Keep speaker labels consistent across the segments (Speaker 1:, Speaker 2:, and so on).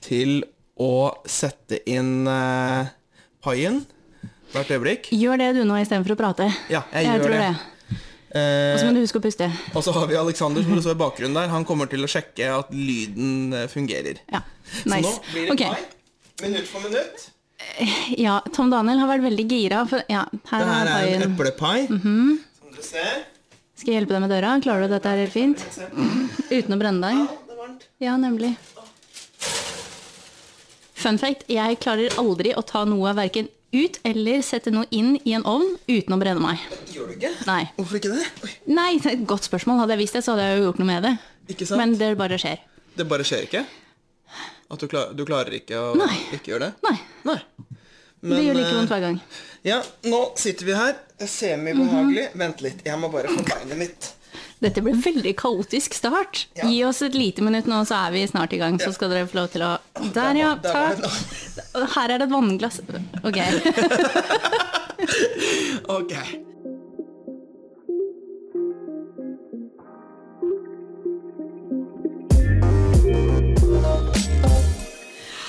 Speaker 1: til å sette inn eh, paien hvert øyeblikk.
Speaker 2: Gjør det du nå istedenfor å prate.
Speaker 1: Ja, jeg gjør
Speaker 2: tror
Speaker 1: det.
Speaker 2: Og
Speaker 1: Eh,
Speaker 2: så må du huske å puste.
Speaker 1: og så har vi Alexander som du så i bakgrunnen der. Han kommer til å sjekke at lyden eh, fungerer.
Speaker 2: Ja,
Speaker 1: Så nå
Speaker 2: nice.
Speaker 1: blir det
Speaker 2: Ok.
Speaker 1: pai minutt for minutt.
Speaker 2: Ja, Tom Daniel har vært veldig gira. For, ja, her
Speaker 1: Det her er
Speaker 2: er
Speaker 1: en
Speaker 2: paien. Mhm.
Speaker 1: eplepai. Som dere ser.
Speaker 2: Skal jeg hjelpe deg med døra? Klarer du dette her helt fint?
Speaker 1: Se.
Speaker 2: Uten å brenne deg?
Speaker 1: Ja, det er varmt.
Speaker 2: Ja, nemlig. Fun fact, jeg klarer aldri å ta noe verken ut eller sette noe inn i en ovn uten å brenne meg.
Speaker 1: Gjør du ikke?
Speaker 2: Nei.
Speaker 1: Hvorfor ikke det? Oi,
Speaker 2: Nei, det er et godt spørsmål. Hadde jeg visst det, så hadde jeg jo gjort noe med det.
Speaker 1: ikke sant?
Speaker 2: Men det bare skjer.
Speaker 1: Det bare skjer ikke? At du, klar, du klarer ikke å
Speaker 2: Nei.
Speaker 1: ikke gjøre det?
Speaker 2: Nei.
Speaker 1: Nei.
Speaker 2: det
Speaker 1: Men,
Speaker 2: gjør like vondt
Speaker 1: eh,
Speaker 2: hver gang.
Speaker 1: Ja, nå sitter vi her. Semibehagelig.
Speaker 2: Mhm.
Speaker 1: Vent litt, jeg må bare få beinet mitt.
Speaker 2: Dette ble veldig kaotisk start.
Speaker 1: Ja.
Speaker 2: Gi oss et lite minutt nå, så er vi snart i gang. Så skal dere få lov til å Der, ja.
Speaker 1: der var
Speaker 2: Takk. Her er det et vannglass. Ok.
Speaker 1: Ok.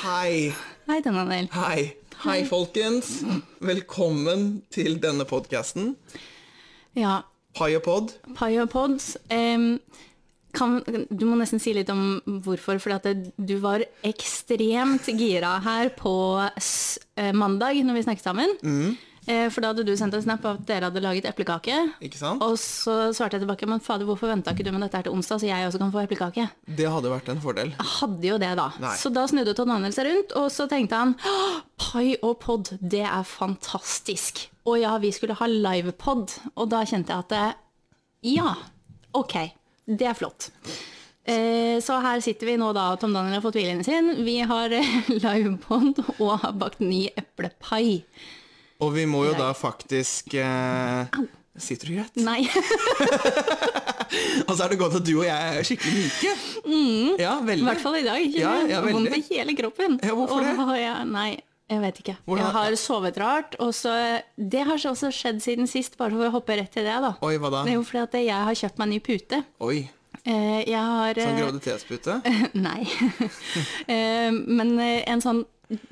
Speaker 1: Hei.
Speaker 2: Hei, denne Daniel.
Speaker 1: Hei. Hei, folkens. Velkommen til denne podkasten.
Speaker 2: Ja,
Speaker 1: Piopod.
Speaker 2: Piopods. Um, kan, du må nesten si litt om hvorfor, for at det, du var ekstremt gira her på s eh, mandag når vi snakket sammen.
Speaker 1: Mm.
Speaker 2: Eh, for da hadde du sendt en snap av at dere hadde laget eplekake.
Speaker 1: Ikke sant?
Speaker 2: Og så svarte jeg tilbake, men fader, hvorfor venta ikke du med dette her til onsdag, så jeg også kan få eplekake?
Speaker 1: Det hadde vært en fordel.
Speaker 2: Hadde jo det, da.
Speaker 1: Nei.
Speaker 2: Så da snudde Todd Daniel seg rundt, og så tenkte han «Åh, pai og pod, det er fantastisk. Og ja, vi skulle ha livepod, og da kjente jeg at eh, ja, ok, det er flott. Eh, Så her sitter vi nå da, og Tom Daniel har fått hvilen sin. Vi har eh, livepod og har bakt ny eplepai.
Speaker 1: Og vi må jo da faktisk eh, Sitter du greit?
Speaker 2: Nei, i
Speaker 1: Og så er det godt at du og jeg er skikkelig like. Ja, veldig.
Speaker 2: Mm. hvert fall i dag. kjenner
Speaker 1: Ja,
Speaker 2: jeg.
Speaker 1: ja,
Speaker 2: Vondt i
Speaker 1: veldig.
Speaker 2: hele kroppen.
Speaker 1: Ja, hvorfor det?
Speaker 2: Og, jeg- nei, jeg vet ikke.
Speaker 1: Hvordan-
Speaker 2: Jeg har sovet rart. Og så, det har så også skjedd siden sist, bare for å hoppe rett til det. da.
Speaker 1: Oi, hva da?
Speaker 2: Det er jo fordi at jeg har kjøpt meg en ny pute.
Speaker 1: Oi,
Speaker 2: Eh, Jeg har
Speaker 1: sånn
Speaker 2: eh,
Speaker 1: graviditetspute?
Speaker 2: Nei. Eh, Men eh, en sånn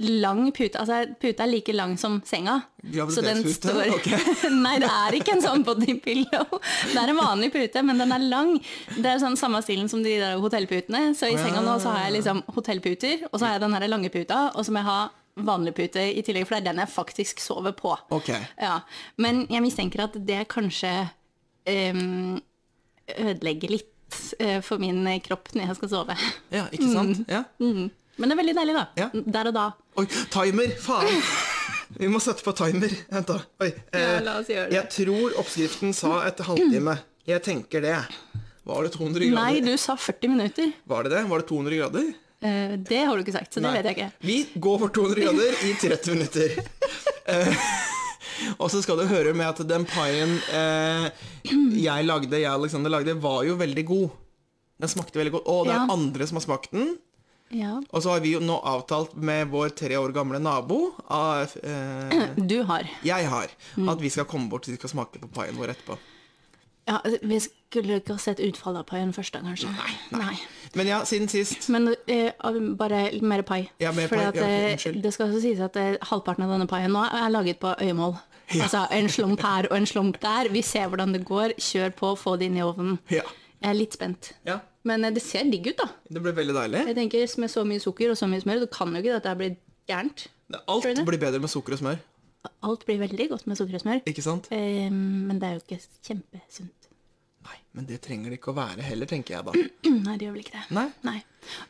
Speaker 2: lang pute Altså, puta er like lang som senga. Så den
Speaker 1: Graviditetspute?
Speaker 2: står Nei, det er ikke en sånn body pillow. Det er en vanlig pute, men den er lang. Det er sånn samme stilen som de der hotellputene. Så i senga nå så har jeg liksom hotellputer, og så har jeg den her lange puta, og så må jeg ha vanlig pute i tillegg, for det er den jeg faktisk sover på.
Speaker 1: Ok.
Speaker 2: Ja, Men jeg mistenker at det kanskje em, ødelegger litt eh, for min kropp når jeg skal sove.
Speaker 1: Ja, ikke
Speaker 2: Mm.
Speaker 1: sant? Ja.
Speaker 2: Men det er veldig deilig, da.
Speaker 1: Ja.
Speaker 2: Der og da.
Speaker 1: Oi, timer! Faen! Vi må sette på timer. Vent, da. Oi. eh,
Speaker 2: Ja, la oss gjøre det.
Speaker 1: Jeg tror oppskriften sa etter halvtime. Jeg tenker det. Var det 200 grader?
Speaker 2: Nei, du sa 40 minutter.
Speaker 1: Var det det? Var det 200 grader?
Speaker 2: Eh, det har du ikke sagt, så det
Speaker 1: Nei.
Speaker 2: vet jeg ikke.
Speaker 1: Vi går for 200 grader i 30 minutter. Eh, og så skal du høre med at den paien eh, jeg lagde, jeg og Alexander lagde, var jo veldig god. Den smakte veldig godt. Og det er
Speaker 2: Ja.
Speaker 1: andre som har smakt den.
Speaker 2: Ja.
Speaker 1: Og så har vi jo nå avtalt med vår tre år gamle nabo av, eh,
Speaker 2: Du har.
Speaker 1: Jeg har.
Speaker 2: Mm.
Speaker 1: At vi skal komme bort så de skal smake på paien vår etterpå.
Speaker 2: Ja, vi skulle ikke ha sett utfallet av paien først, da, kanskje. Nei.
Speaker 1: Men ja, siden sist.
Speaker 2: Men eh, bare litt mer pai.
Speaker 1: Ja, mer
Speaker 2: Fordi
Speaker 1: pai.
Speaker 2: At,
Speaker 1: Ja, ok,
Speaker 2: eh,
Speaker 1: unnskyld.
Speaker 2: det skal også sies at eh, halvparten av denne paien nå er laget på øyemål. Altså en slump her og en slump der. Vi ser hvordan det går. Kjør på, få det inn i ovnen.
Speaker 1: Ja.
Speaker 2: Jeg er litt spent.
Speaker 1: ja.
Speaker 2: Men eh, det ser digg ut, da.
Speaker 1: Det ble veldig deilig.
Speaker 2: Jeg tenker Med så mye sukker og så mye smør, det kan jo ikke dette bli gærent. Tror du
Speaker 1: Alt
Speaker 2: det?
Speaker 1: blir bedre med sukker og smør.
Speaker 2: Alt blir veldig godt med sukker og smør,
Speaker 1: Ikke sant?
Speaker 2: eh, men det er jo ikke kjempesunt.
Speaker 1: Nei, men det trenger det ikke å være heller, tenker jeg da.
Speaker 2: Nei, det gjør vel ikke det.
Speaker 1: Nei.
Speaker 2: Nei.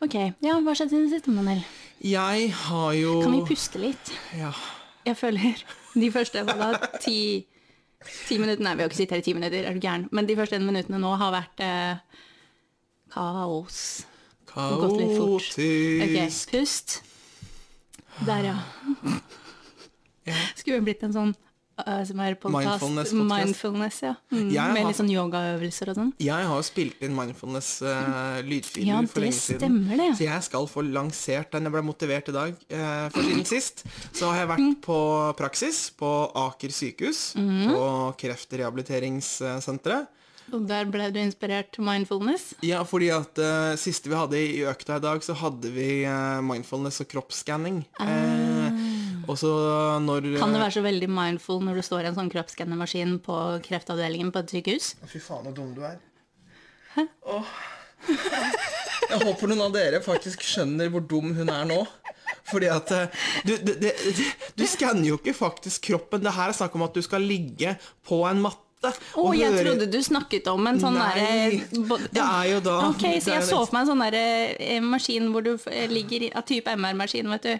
Speaker 2: Ok, ja, hva skjedde siden siste, Manel?
Speaker 1: Jeg har jo
Speaker 2: Kan vi puste litt?
Speaker 1: Ja.
Speaker 2: Jeg føler de første hva da, ti, ti minuttene Nei, vi har ikke sittet her i ti minutter, er du gæren? Men de første minuttene nå har vært eh, kaos. gått litt fort. Ok,
Speaker 1: Kaotisk
Speaker 2: pust. Der, ja. Skulle jo blitt en sånn ASMR-podkast.
Speaker 1: Mindfulness-podcast.
Speaker 2: Mindfulness, ja. Mm,
Speaker 1: Jeg
Speaker 2: med
Speaker 1: har-
Speaker 2: litt sånn yogaøvelser og sånn.
Speaker 1: Jeg har jo spilt inn mindfulness-lydfiler
Speaker 2: Ja,
Speaker 1: for
Speaker 2: det
Speaker 1: lenge siden.
Speaker 2: stemmer det.
Speaker 1: Så jeg skal få lansert den. Jeg ble motivert i dag. Eh, for siden sist så har jeg vært
Speaker 2: Mm.
Speaker 1: på praksis på Aker sykehus, på kreftrehabiliteringssenteret.
Speaker 2: Og der ble du inspirert til mindfulness?
Speaker 1: Ja, fordi at eh, siste vi hadde i økta i dag, så hadde vi eh, mindfulness og kroppsskanning. Eh, og så når
Speaker 2: Ah.
Speaker 1: eh,
Speaker 2: Kan det være så veldig mindful når du står i en sånn kroppsskannermaskin på kreftavdelingen på et sykehus?
Speaker 1: Fy faen, så dum du er. Åh. Jeg håper noen av dere faktisk skjønner hvor dum hun er nå. Fordi at eh, Du, du, det- det- du skanner jo ikke faktisk kroppen. Det her er snakk om at du skal ligge på en matte.
Speaker 2: Å, jeg trodde du snakket om en sånn
Speaker 1: Nei,
Speaker 2: derre bo-
Speaker 1: det er jo da-
Speaker 2: Ok,
Speaker 1: det er
Speaker 2: så jeg så
Speaker 1: jo-
Speaker 2: for meg en sånn derre eh, maskin hvor du eh, ligger i av type MR-maskin, vet du.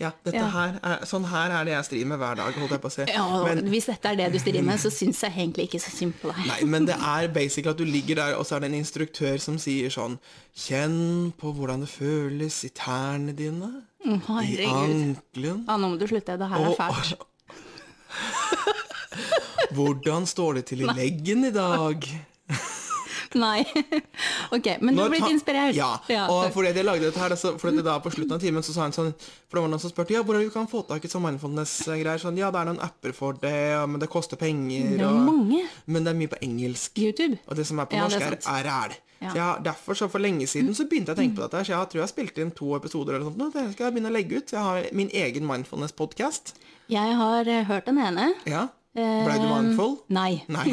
Speaker 1: Ja, dette
Speaker 2: Ja.
Speaker 1: Her er, sånn her er det jeg strir med hver dag, holdt jeg på å si.
Speaker 2: Ja, og
Speaker 1: Men,
Speaker 2: hvis dette er det du stiller med, så syns jeg egentlig ikke så synd på deg.
Speaker 1: nei, men det er basically at du ligger der, og så er det en instruktør som sier sånn Kjenn på hvordan det føles i tærne dine, i
Speaker 2: Herregud.
Speaker 1: ankelen
Speaker 2: Ja, nå må du slutte. Det her er
Speaker 1: og-
Speaker 2: fælt.
Speaker 1: Hvordan står det til i leggen i dag?
Speaker 2: Nei. Ok, men du
Speaker 1: Når
Speaker 2: har blitt
Speaker 1: ta-
Speaker 2: inspirert.
Speaker 1: Ja.
Speaker 2: Ja.
Speaker 1: Og fordi jeg lagde dette her, så, fordi det da på slutten av timen så sa han sånn For det var noen som spurte ja, hvordan vi kan få tak i sånn mindfulness-greier. Sånn, ja, det er noen apper for det, og- men det koster penger.
Speaker 2: Det er
Speaker 1: og-
Speaker 2: mange.
Speaker 1: Men det er mye på engelsk.
Speaker 2: YouTube.
Speaker 1: Og det som er på
Speaker 2: Ja,
Speaker 1: norsk,
Speaker 2: det er
Speaker 1: er, er ræl.
Speaker 2: Ja. Mm.
Speaker 1: Så jeg, derfor, så for lenge siden, så begynte jeg å tenke på dette. her Så jeg tror jeg spilte inn to episoder eller sånt. nå, Det skal jeg begynne å legge ut. Så jeg har min egen mindfulness-podkast.
Speaker 2: Jeg har eh, hørt den ene. Eh,
Speaker 1: Ja. Ble du mindful?
Speaker 2: Nei.
Speaker 1: Nei.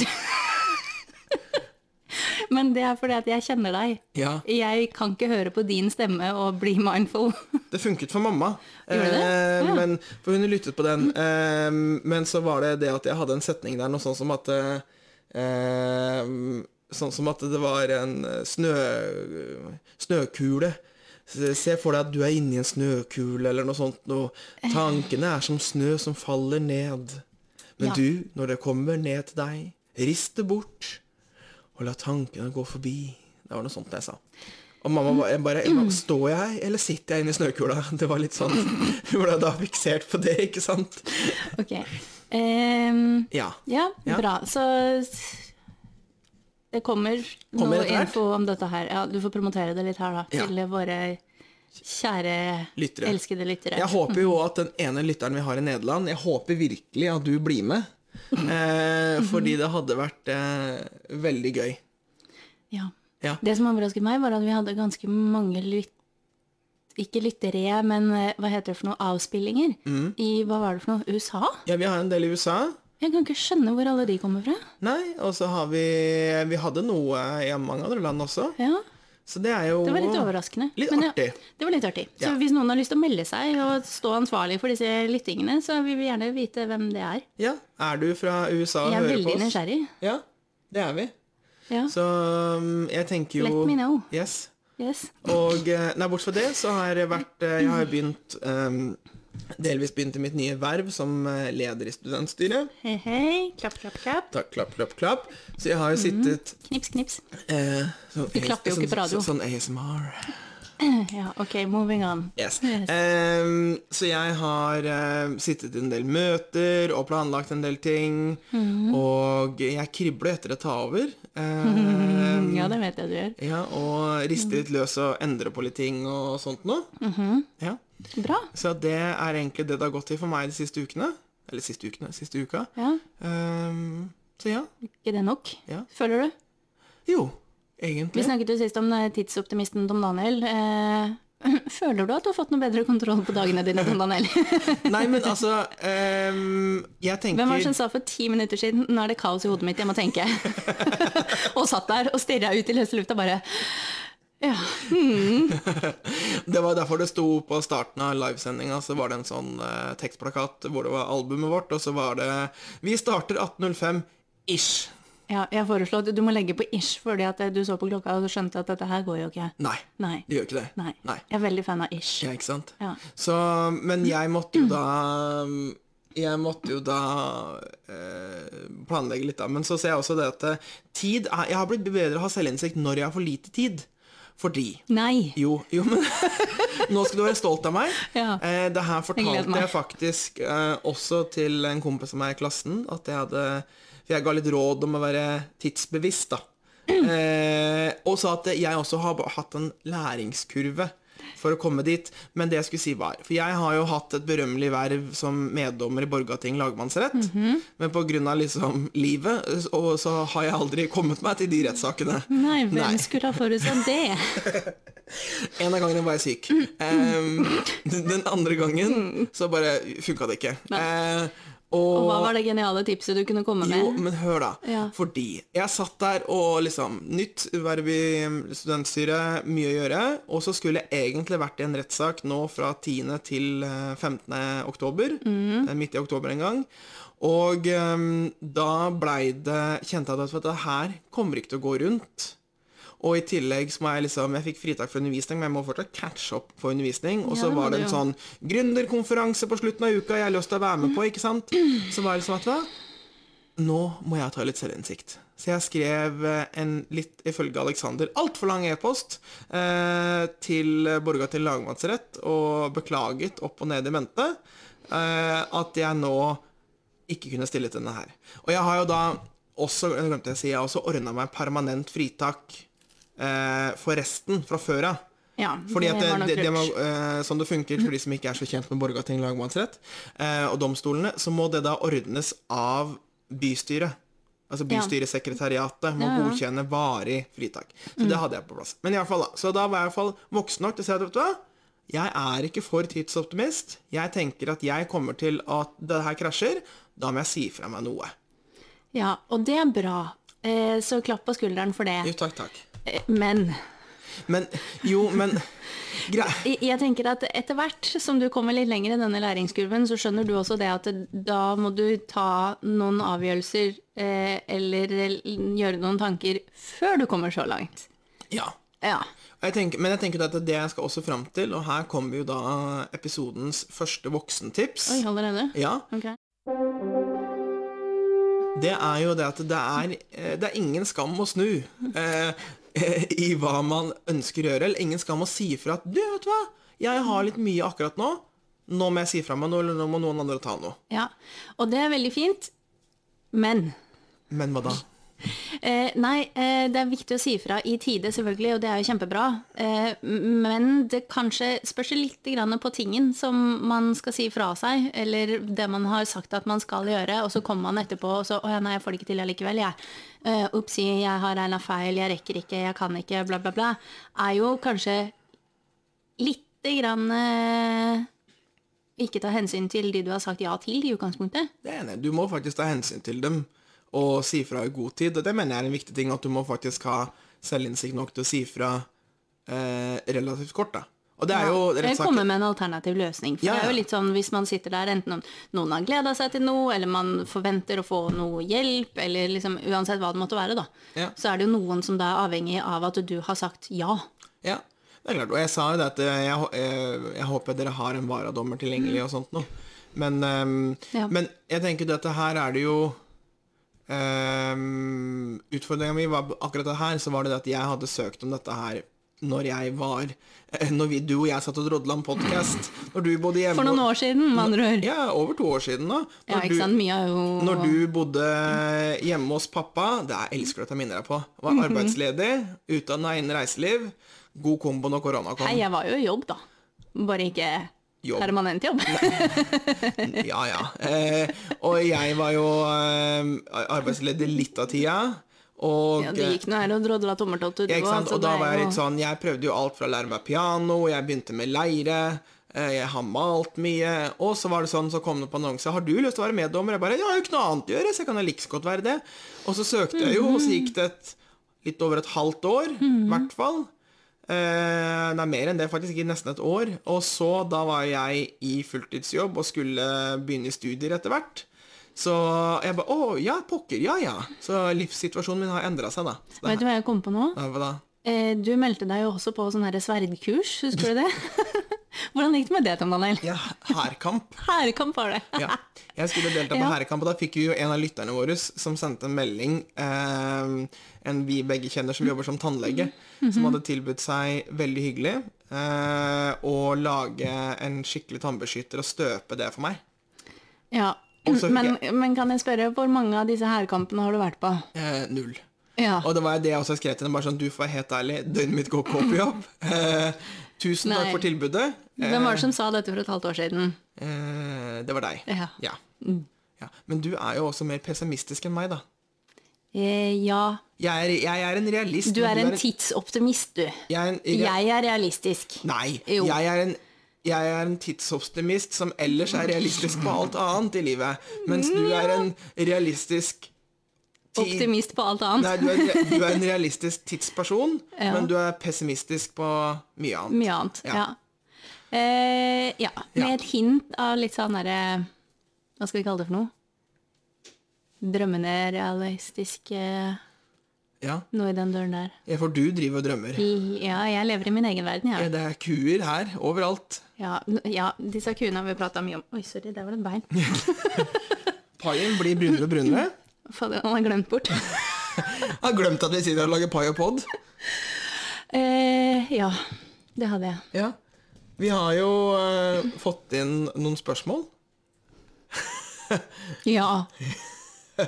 Speaker 2: Men det er fordi at jeg kjenner deg.
Speaker 1: Ja.
Speaker 2: Jeg kan ikke høre på din stemme og bli mindful.
Speaker 1: Det funket for mamma.
Speaker 2: Gjorde det?
Speaker 1: Eh,
Speaker 2: Ja.
Speaker 1: men, for hun lyttet på den. Eh, men så var det det at jeg hadde en setning der, noe sånn som at eh, eh, Sånn som at det var en eh, snø, snøkule. Se se for deg at du er inni en snøkule, eller noe sånt. noe. tankene er som snø som faller ned. Men
Speaker 2: Ja.
Speaker 1: du, når det kommer ned til deg, rist det bort, og la tankene gå forbi. Det var noe sånt jeg sa. Og mamma ba- jeg bare, bare Står jeg her, eller sitter jeg inne i snøkula? Det var litt sånn Hun ble da fiksert på det, ikke sant?
Speaker 2: Ok. Ehm,
Speaker 1: Ja.
Speaker 2: ja,
Speaker 1: Ja.
Speaker 2: bra. Så s- det kommer,
Speaker 1: Kommer
Speaker 2: noe
Speaker 1: etter hvert.
Speaker 2: info om dette her. Ja, du får promotere det litt her, da.
Speaker 1: Ja.
Speaker 2: Til våre kjære,
Speaker 1: Lyttere.
Speaker 2: elskede lyttere.
Speaker 1: Jeg håper jo at den ene lytteren vi har i Nederland Jeg håper virkelig at du blir med. Eh, fordi det hadde vært eh, veldig gøy.
Speaker 2: Ja.
Speaker 1: Ja.
Speaker 2: Det som overrasket meg, var at vi hadde ganske mange lytt... Ikke lyttere, men eh, hva heter det for noe? Avspillinger.
Speaker 1: Mm.
Speaker 2: I hva var det for noe? USA?
Speaker 1: ja, vi har en del i USA.
Speaker 2: Jeg kan ikke skjønne hvor alle de kommer fra.
Speaker 1: Nei, og så har vi Vi hadde noe i mange andre land også.
Speaker 2: Ja,
Speaker 1: Så det er jo
Speaker 2: Det var litt overraskende.
Speaker 1: Litt
Speaker 2: Men ja,
Speaker 1: artig.
Speaker 2: det var litt artig. Så
Speaker 1: Ja.
Speaker 2: hvis noen har lyst til å melde seg og stå ansvarlig for disse lyttingene, så vil vi gjerne vite hvem det er.
Speaker 1: Ja. Er du fra USA og
Speaker 2: Jeg er
Speaker 1: hører på
Speaker 2: veldig
Speaker 1: oss?
Speaker 2: nysgjerrig.
Speaker 1: Ja, det er vi.
Speaker 2: Ja.
Speaker 1: Så um, jeg tenker jo
Speaker 2: Let me know.
Speaker 1: Yes.
Speaker 2: Yes.
Speaker 1: Og eh, nei, bortsett fra det så har jeg vært eh, Jeg har jo begynt eh, Delvis begynt i mitt nye verv som eh, leder i studentstyret.
Speaker 2: Hei, hei. Klapp, klapp, klapp.
Speaker 1: Takk, klapp, klapp, klapp. Så jeg har jo sittet
Speaker 2: Knips, knips.
Speaker 1: eh, sånn
Speaker 2: Du Mhm. klapper jo
Speaker 1: sånn-
Speaker 2: ikke på radio.
Speaker 1: Sånn, sånn ASMR.
Speaker 2: Ja, ok, moving on.
Speaker 1: Yes. Ehm, så jeg har eh, sittet i en del møter og planlagt en del ting.
Speaker 2: Mhm.
Speaker 1: Og jeg kribler etter å ta over. Ehm,
Speaker 2: Ja, det vet jeg du gjør.
Speaker 1: ja, og riste litt løs og endre på litt ting og sånt noe.
Speaker 2: Mhm.
Speaker 1: ja.
Speaker 2: Bra.
Speaker 1: Så det er egentlig det det har gått til for meg de siste ukene. Eller siste ukene, siste uka.
Speaker 2: Ja,
Speaker 1: Ehm, så ja.
Speaker 2: ikke det nok?
Speaker 1: Ja.
Speaker 2: Føler du?
Speaker 1: Jo,
Speaker 2: Vi
Speaker 1: egentlig.
Speaker 2: snakket jo sist om eh, tidsoptimisten Tom Daniel. Eh, Føler du at du har fått noe bedre kontroll på dagene dine, Tom Daniel?
Speaker 1: Nei, men altså ehm, Jeg tenker
Speaker 2: Hvem var det som sa for ti minutter siden 'nå er det kaos i hodet mitt, jeg må tenke'? og satt der og stirra ut i løse lufta bare Ja.
Speaker 1: Det var derfor det sto på starten av livesendinga, så var det en sånn eh, tekstplakat hvor det var albumet vårt, og så var det Vi starter 18.05-ish.
Speaker 2: ja jeg foreslår at du må legge på ish, fordi at eh, du så på klokka og skjønte at dette her går jo ikke.
Speaker 1: Nei,
Speaker 2: Nei.
Speaker 1: det gjør ikke det.
Speaker 2: Nei. Jeg er veldig fan av ish.
Speaker 1: Ja, ikke sant?
Speaker 2: Ja.
Speaker 1: Så, men jeg måtte jo da Jeg måtte jo da eh, planlegge litt, da. Men så ser jeg også det at eh, tid er, Jeg har blitt bedre til å ha selvinnsikt når jeg har for lite tid. Fordi
Speaker 2: Nei.
Speaker 1: Jo, jo men nå skal du være stolt av meg.
Speaker 2: Ja.
Speaker 1: Eh, det her
Speaker 2: Jeg gleder
Speaker 1: fortalte
Speaker 2: meg.
Speaker 1: jeg faktisk eh, også til en kompis av meg i klassen. At jeg hadde For jeg ga litt råd om å være
Speaker 2: Mm.
Speaker 1: tidsbevisst, da. Eh, og sa at jeg også har ba- hatt en læringskurve. for å komme dit. Men det jeg skulle si var For jeg har jo hatt et berømmelig verv som meddommer i Borgarting lagmannsrett.
Speaker 2: Mhm.
Speaker 1: Men pga. liksom livet og så har jeg aldri kommet meg til de rettssakene.
Speaker 2: Nei, hvem
Speaker 1: Nei.
Speaker 2: skulle ha forutsett det?
Speaker 1: En av gangene var jeg syk.
Speaker 2: Mm.
Speaker 1: Ehm, den den andre gangen så bare funka det ikke. Eh,
Speaker 2: Og hva var det geniale tipset du kunne komme
Speaker 1: Jo,
Speaker 2: med?
Speaker 1: men hør da.
Speaker 2: Ja.
Speaker 1: Fordi jeg satt der og liksom Nytt verv i studentstyret, mye å gjøre. Og så skulle jeg egentlig vært i en rettssak nå fra 10. til eh, 15. oktober.
Speaker 2: Mm.
Speaker 1: eh, Midt i oktober en gang. Og eh, da blei det Kjente jeg at vet du, det her kommer ikke til å gå rundt. Og i tillegg så må jeg liksom Jeg fikk fritak for undervisning, men jeg må fortsatt catche opp for undervisning. Og
Speaker 2: Ja,
Speaker 1: så
Speaker 2: det må
Speaker 1: var det
Speaker 2: du
Speaker 1: en
Speaker 2: jo.
Speaker 1: sånn gründerkonferanse på slutten av uka jeg har lyst til å være med på, ikke sant? Så var det liksom at hva? Nå må jeg ta litt selvinnsikt. Så jeg skrev eh, en litt, ifølge Aleksander, altfor lang e-post eh, til Borga til lagmannsrett og beklaget opp og ned i mente eh, at jeg nå ikke kunne stille til denne her. Og jeg har jo da også, det glemte jeg å si, jeg har også ordna meg permanent fritak eh, for resten fra før av.
Speaker 2: Ja,
Speaker 1: Fordi
Speaker 2: det
Speaker 1: at
Speaker 2: var nok
Speaker 1: det, det, det må,
Speaker 2: lurt.
Speaker 1: eh, Sånn det funker for de som ikke er så kjent med Borgarting lagmannsrett eh, og domstolene, så må det da ordnes av bystyret. Altså
Speaker 2: Ja.
Speaker 1: bystyresekretariatet må
Speaker 2: Ja, Mm. ja.
Speaker 1: godkjenne varig fritak. Så det hadde jeg på plass. Men i alle fall da, Så da var jeg i hvert fall voksen nok til å si at vet du hva, jeg er ikke for tidsoptimist. Jeg tenker at jeg kommer til at det her krasjer. Da må jeg si fra meg noe.
Speaker 2: Ja, og det er bra. Eh, Så klapp på skulderen for det.
Speaker 1: Jo, takk, takk.
Speaker 2: Eh, Men
Speaker 1: Men jo, men grei...
Speaker 2: Jeg- Jeg tenker at etter hvert som du kommer litt lenger i denne læringskurven, så skjønner du også det at da må du ta noen avgjørelser eh, eller l- gjøre noen tanker før du kommer så langt.
Speaker 1: Ja.
Speaker 2: Ja.
Speaker 1: Og Jeg tenker, men jeg tenker at det jeg skal også fram til, og her kommer jo da episodens første voksentips.
Speaker 2: Oi, allerede?
Speaker 1: Ja,
Speaker 2: Ok.
Speaker 1: det er jo det at det er, eh, det er ingen skam å snu eh, eh, i hva man ønsker å gjøre, eller ingen skam å si fra at du, vet du hva, jeg har litt mye akkurat nå, nå må jeg si fra meg noe, eller nå må noen andre ta noe.
Speaker 2: Ja. Og det er veldig fint, men
Speaker 1: Men hva da?
Speaker 2: Eh, nei, eh, det er viktig å si ifra i tide, selvfølgelig, og det er jo kjempebra. Eh, m- men det kanskje spørs litt grann på tingen som man skal si fra seg, eller det man har sagt at man skal gjøre, og så kommer man etterpå og så 'Å ja, nei, jeg får det ikke til allikevel, jeg'. Eh, Opsi, jeg har regna feil, jeg rekker ikke, jeg kan ikke, bla, bla, bla. Er jo kanskje lite grann eh, ikke ta hensyn til de du har sagt ja til i utgangspunktet.
Speaker 1: Det er jeg enig. i. Du må faktisk ta hensyn til dem og si fra i god tid. Og det mener jeg er en viktig ting, at du må faktisk ha selvinnsikt nok til å si fra eh, relativt kort, da. Og det er jo
Speaker 2: Jeg
Speaker 1: rettssaker-
Speaker 2: kommer med en alternativ løsning. For
Speaker 1: Ja,
Speaker 2: det er jo
Speaker 1: ja.
Speaker 2: litt sånn Hvis man sitter der, enten om noen har gleda seg til noe, eller man forventer å få noe hjelp, eller liksom uansett hva det måtte være, da,
Speaker 1: Ja.
Speaker 2: så er det jo noen som da er avhengig av at du har sagt ja.
Speaker 1: Ja, det er klart. Og jeg sa jo det at eh, jeg, hå- eh, jeg håper dere har en varadommer tilgjengelig og sånt nå. Men, ehm,
Speaker 2: Mm. Ja.
Speaker 1: men jeg tenker jo dette her er det jo um, Utfordringa mi var akkurat det her, så var det det at jeg hadde søkt om dette her når jeg var eh, Når vi, du og jeg satt og drodla om podkast. Når du bodde hjemme
Speaker 2: For noen år siden, med andre ord.
Speaker 1: Ja, over to år siden, da.
Speaker 2: Ja,
Speaker 1: Når
Speaker 2: ikke
Speaker 1: du-
Speaker 2: sant. Mye er jo
Speaker 1: når du bodde hjemme hos pappa Det er jeg elsker at jeg minner deg på. Var
Speaker 2: Mhm.
Speaker 1: arbeidsledig, utdanna innen reiseliv. God kombo når korona kom.
Speaker 2: Nei, jeg var jo i jobb, da. Bare ikke
Speaker 1: Jobb.
Speaker 2: permanent jobb.
Speaker 1: Ja, ja. Eh, og jeg var jo eh, arbeidsledig litt av tida. Og
Speaker 2: Ja, det gikk nå her og drodla tommeltott.
Speaker 1: Ja, ikke sant? Og da var jeg litt sånn Jeg prøvde jo alt fra å lære meg piano, jeg begynte med leire, eh, jeg har malt mye. Og så var det sånn, så kom det på annonse Har du lyst til å være meddommer? Jeg bare Jeg har jo ikke noe annet å gjøre, så jeg kan jo like så godt være det. Og så søkte jeg jo, og så gikk det et, litt over et halvt år, i hvert fall. Eh, nei, mer enn det, faktisk. Ikke nesten et år. Og så, da var jeg i fulltidsjobb og skulle begynne i studier etter hvert. Så jeg bare Å, ja, pokker. Ja, ja. Så livssituasjonen min har endra seg, da. Så det,
Speaker 2: Vet du hva jeg kom på nå?
Speaker 1: ja, hva da?
Speaker 2: Eh, Du meldte deg jo også på sånn her sverdkurs, husker du det? Hvordan gikk det med det, Tom Daniel?
Speaker 1: Ja, hærkamp.
Speaker 2: Herkamp var det.
Speaker 1: Ja. Jeg skulle delta på
Speaker 2: Ja.
Speaker 1: herrekamp, og da fikk vi jo en av lytterne våre som sendte en melding, eh, en vi begge kjenner
Speaker 2: Mm.
Speaker 1: som jobber som tannlege,
Speaker 2: Mm-hmm.
Speaker 1: som hadde tilbudt seg veldig hyggelig eh, å lage en skikkelig tannbeskytter og støpe det for meg.
Speaker 2: Ja.
Speaker 1: Og så fikk
Speaker 2: Men, men kan jeg spørre, hvor mange av disse hærkampene har du vært på?
Speaker 1: Eh, null.
Speaker 2: Ja. Ah.
Speaker 1: Og det var jo det jeg også skrev til dem, bare sånn, du får være helt ærlig, døgnet mitt går ikke opp i jobb. Eh, Tusen takk
Speaker 2: Nei.
Speaker 1: for tilbudet.
Speaker 2: Hvem var det som sa dette for et halvt år siden?
Speaker 1: Eh, det var deg.
Speaker 2: Ja.
Speaker 1: Ja.
Speaker 2: Mm.
Speaker 1: ja. Men du er jo også mer pessimistisk enn meg, da.
Speaker 2: Eh, ja,
Speaker 1: Jeg er, jeg er en realist.
Speaker 2: du
Speaker 1: men
Speaker 2: er en tidsoptimist, du.
Speaker 1: Jeg er en rea-
Speaker 2: Jeg er realistisk.
Speaker 1: Nei,
Speaker 2: Jo.
Speaker 1: jeg er en jeg er en tidsoptimist som ellers er realistisk på alt annet i livet. Mens du er en realistisk ti-
Speaker 2: Optimist på alt annet.
Speaker 1: Nei, du er, en- du er en realistisk tidsperson,
Speaker 2: Ja.
Speaker 1: men du er pessimistisk på mye annet.
Speaker 2: Mye annet.
Speaker 1: Ja.
Speaker 2: Ja. Eh, ja. Med
Speaker 1: Ja.
Speaker 2: et hint av litt sånn derre Hva skal vi kalle det for noe? Drømmende realistisk eh,
Speaker 1: Ja,
Speaker 2: noe i den døren der.
Speaker 1: ja, For du driver og drømmer.
Speaker 2: I- Ja, jeg lever i min egen verden,
Speaker 1: Ja,
Speaker 2: jeg.
Speaker 1: Det er kuer her, overalt.
Speaker 2: Ja, n- ja disse kuene har vi prata mye om. Oi, sorry, der var det et bein.
Speaker 1: Paien blir brunere og brunere.
Speaker 2: Fader, han har glemt bort.
Speaker 1: Jeg har glemt at vi sitter her og lager pai og pod.
Speaker 2: eh, ja, det hadde jeg.
Speaker 1: Ja. Vi har jo eh, fått inn noen spørsmål.
Speaker 2: Ja.
Speaker 1: Eh,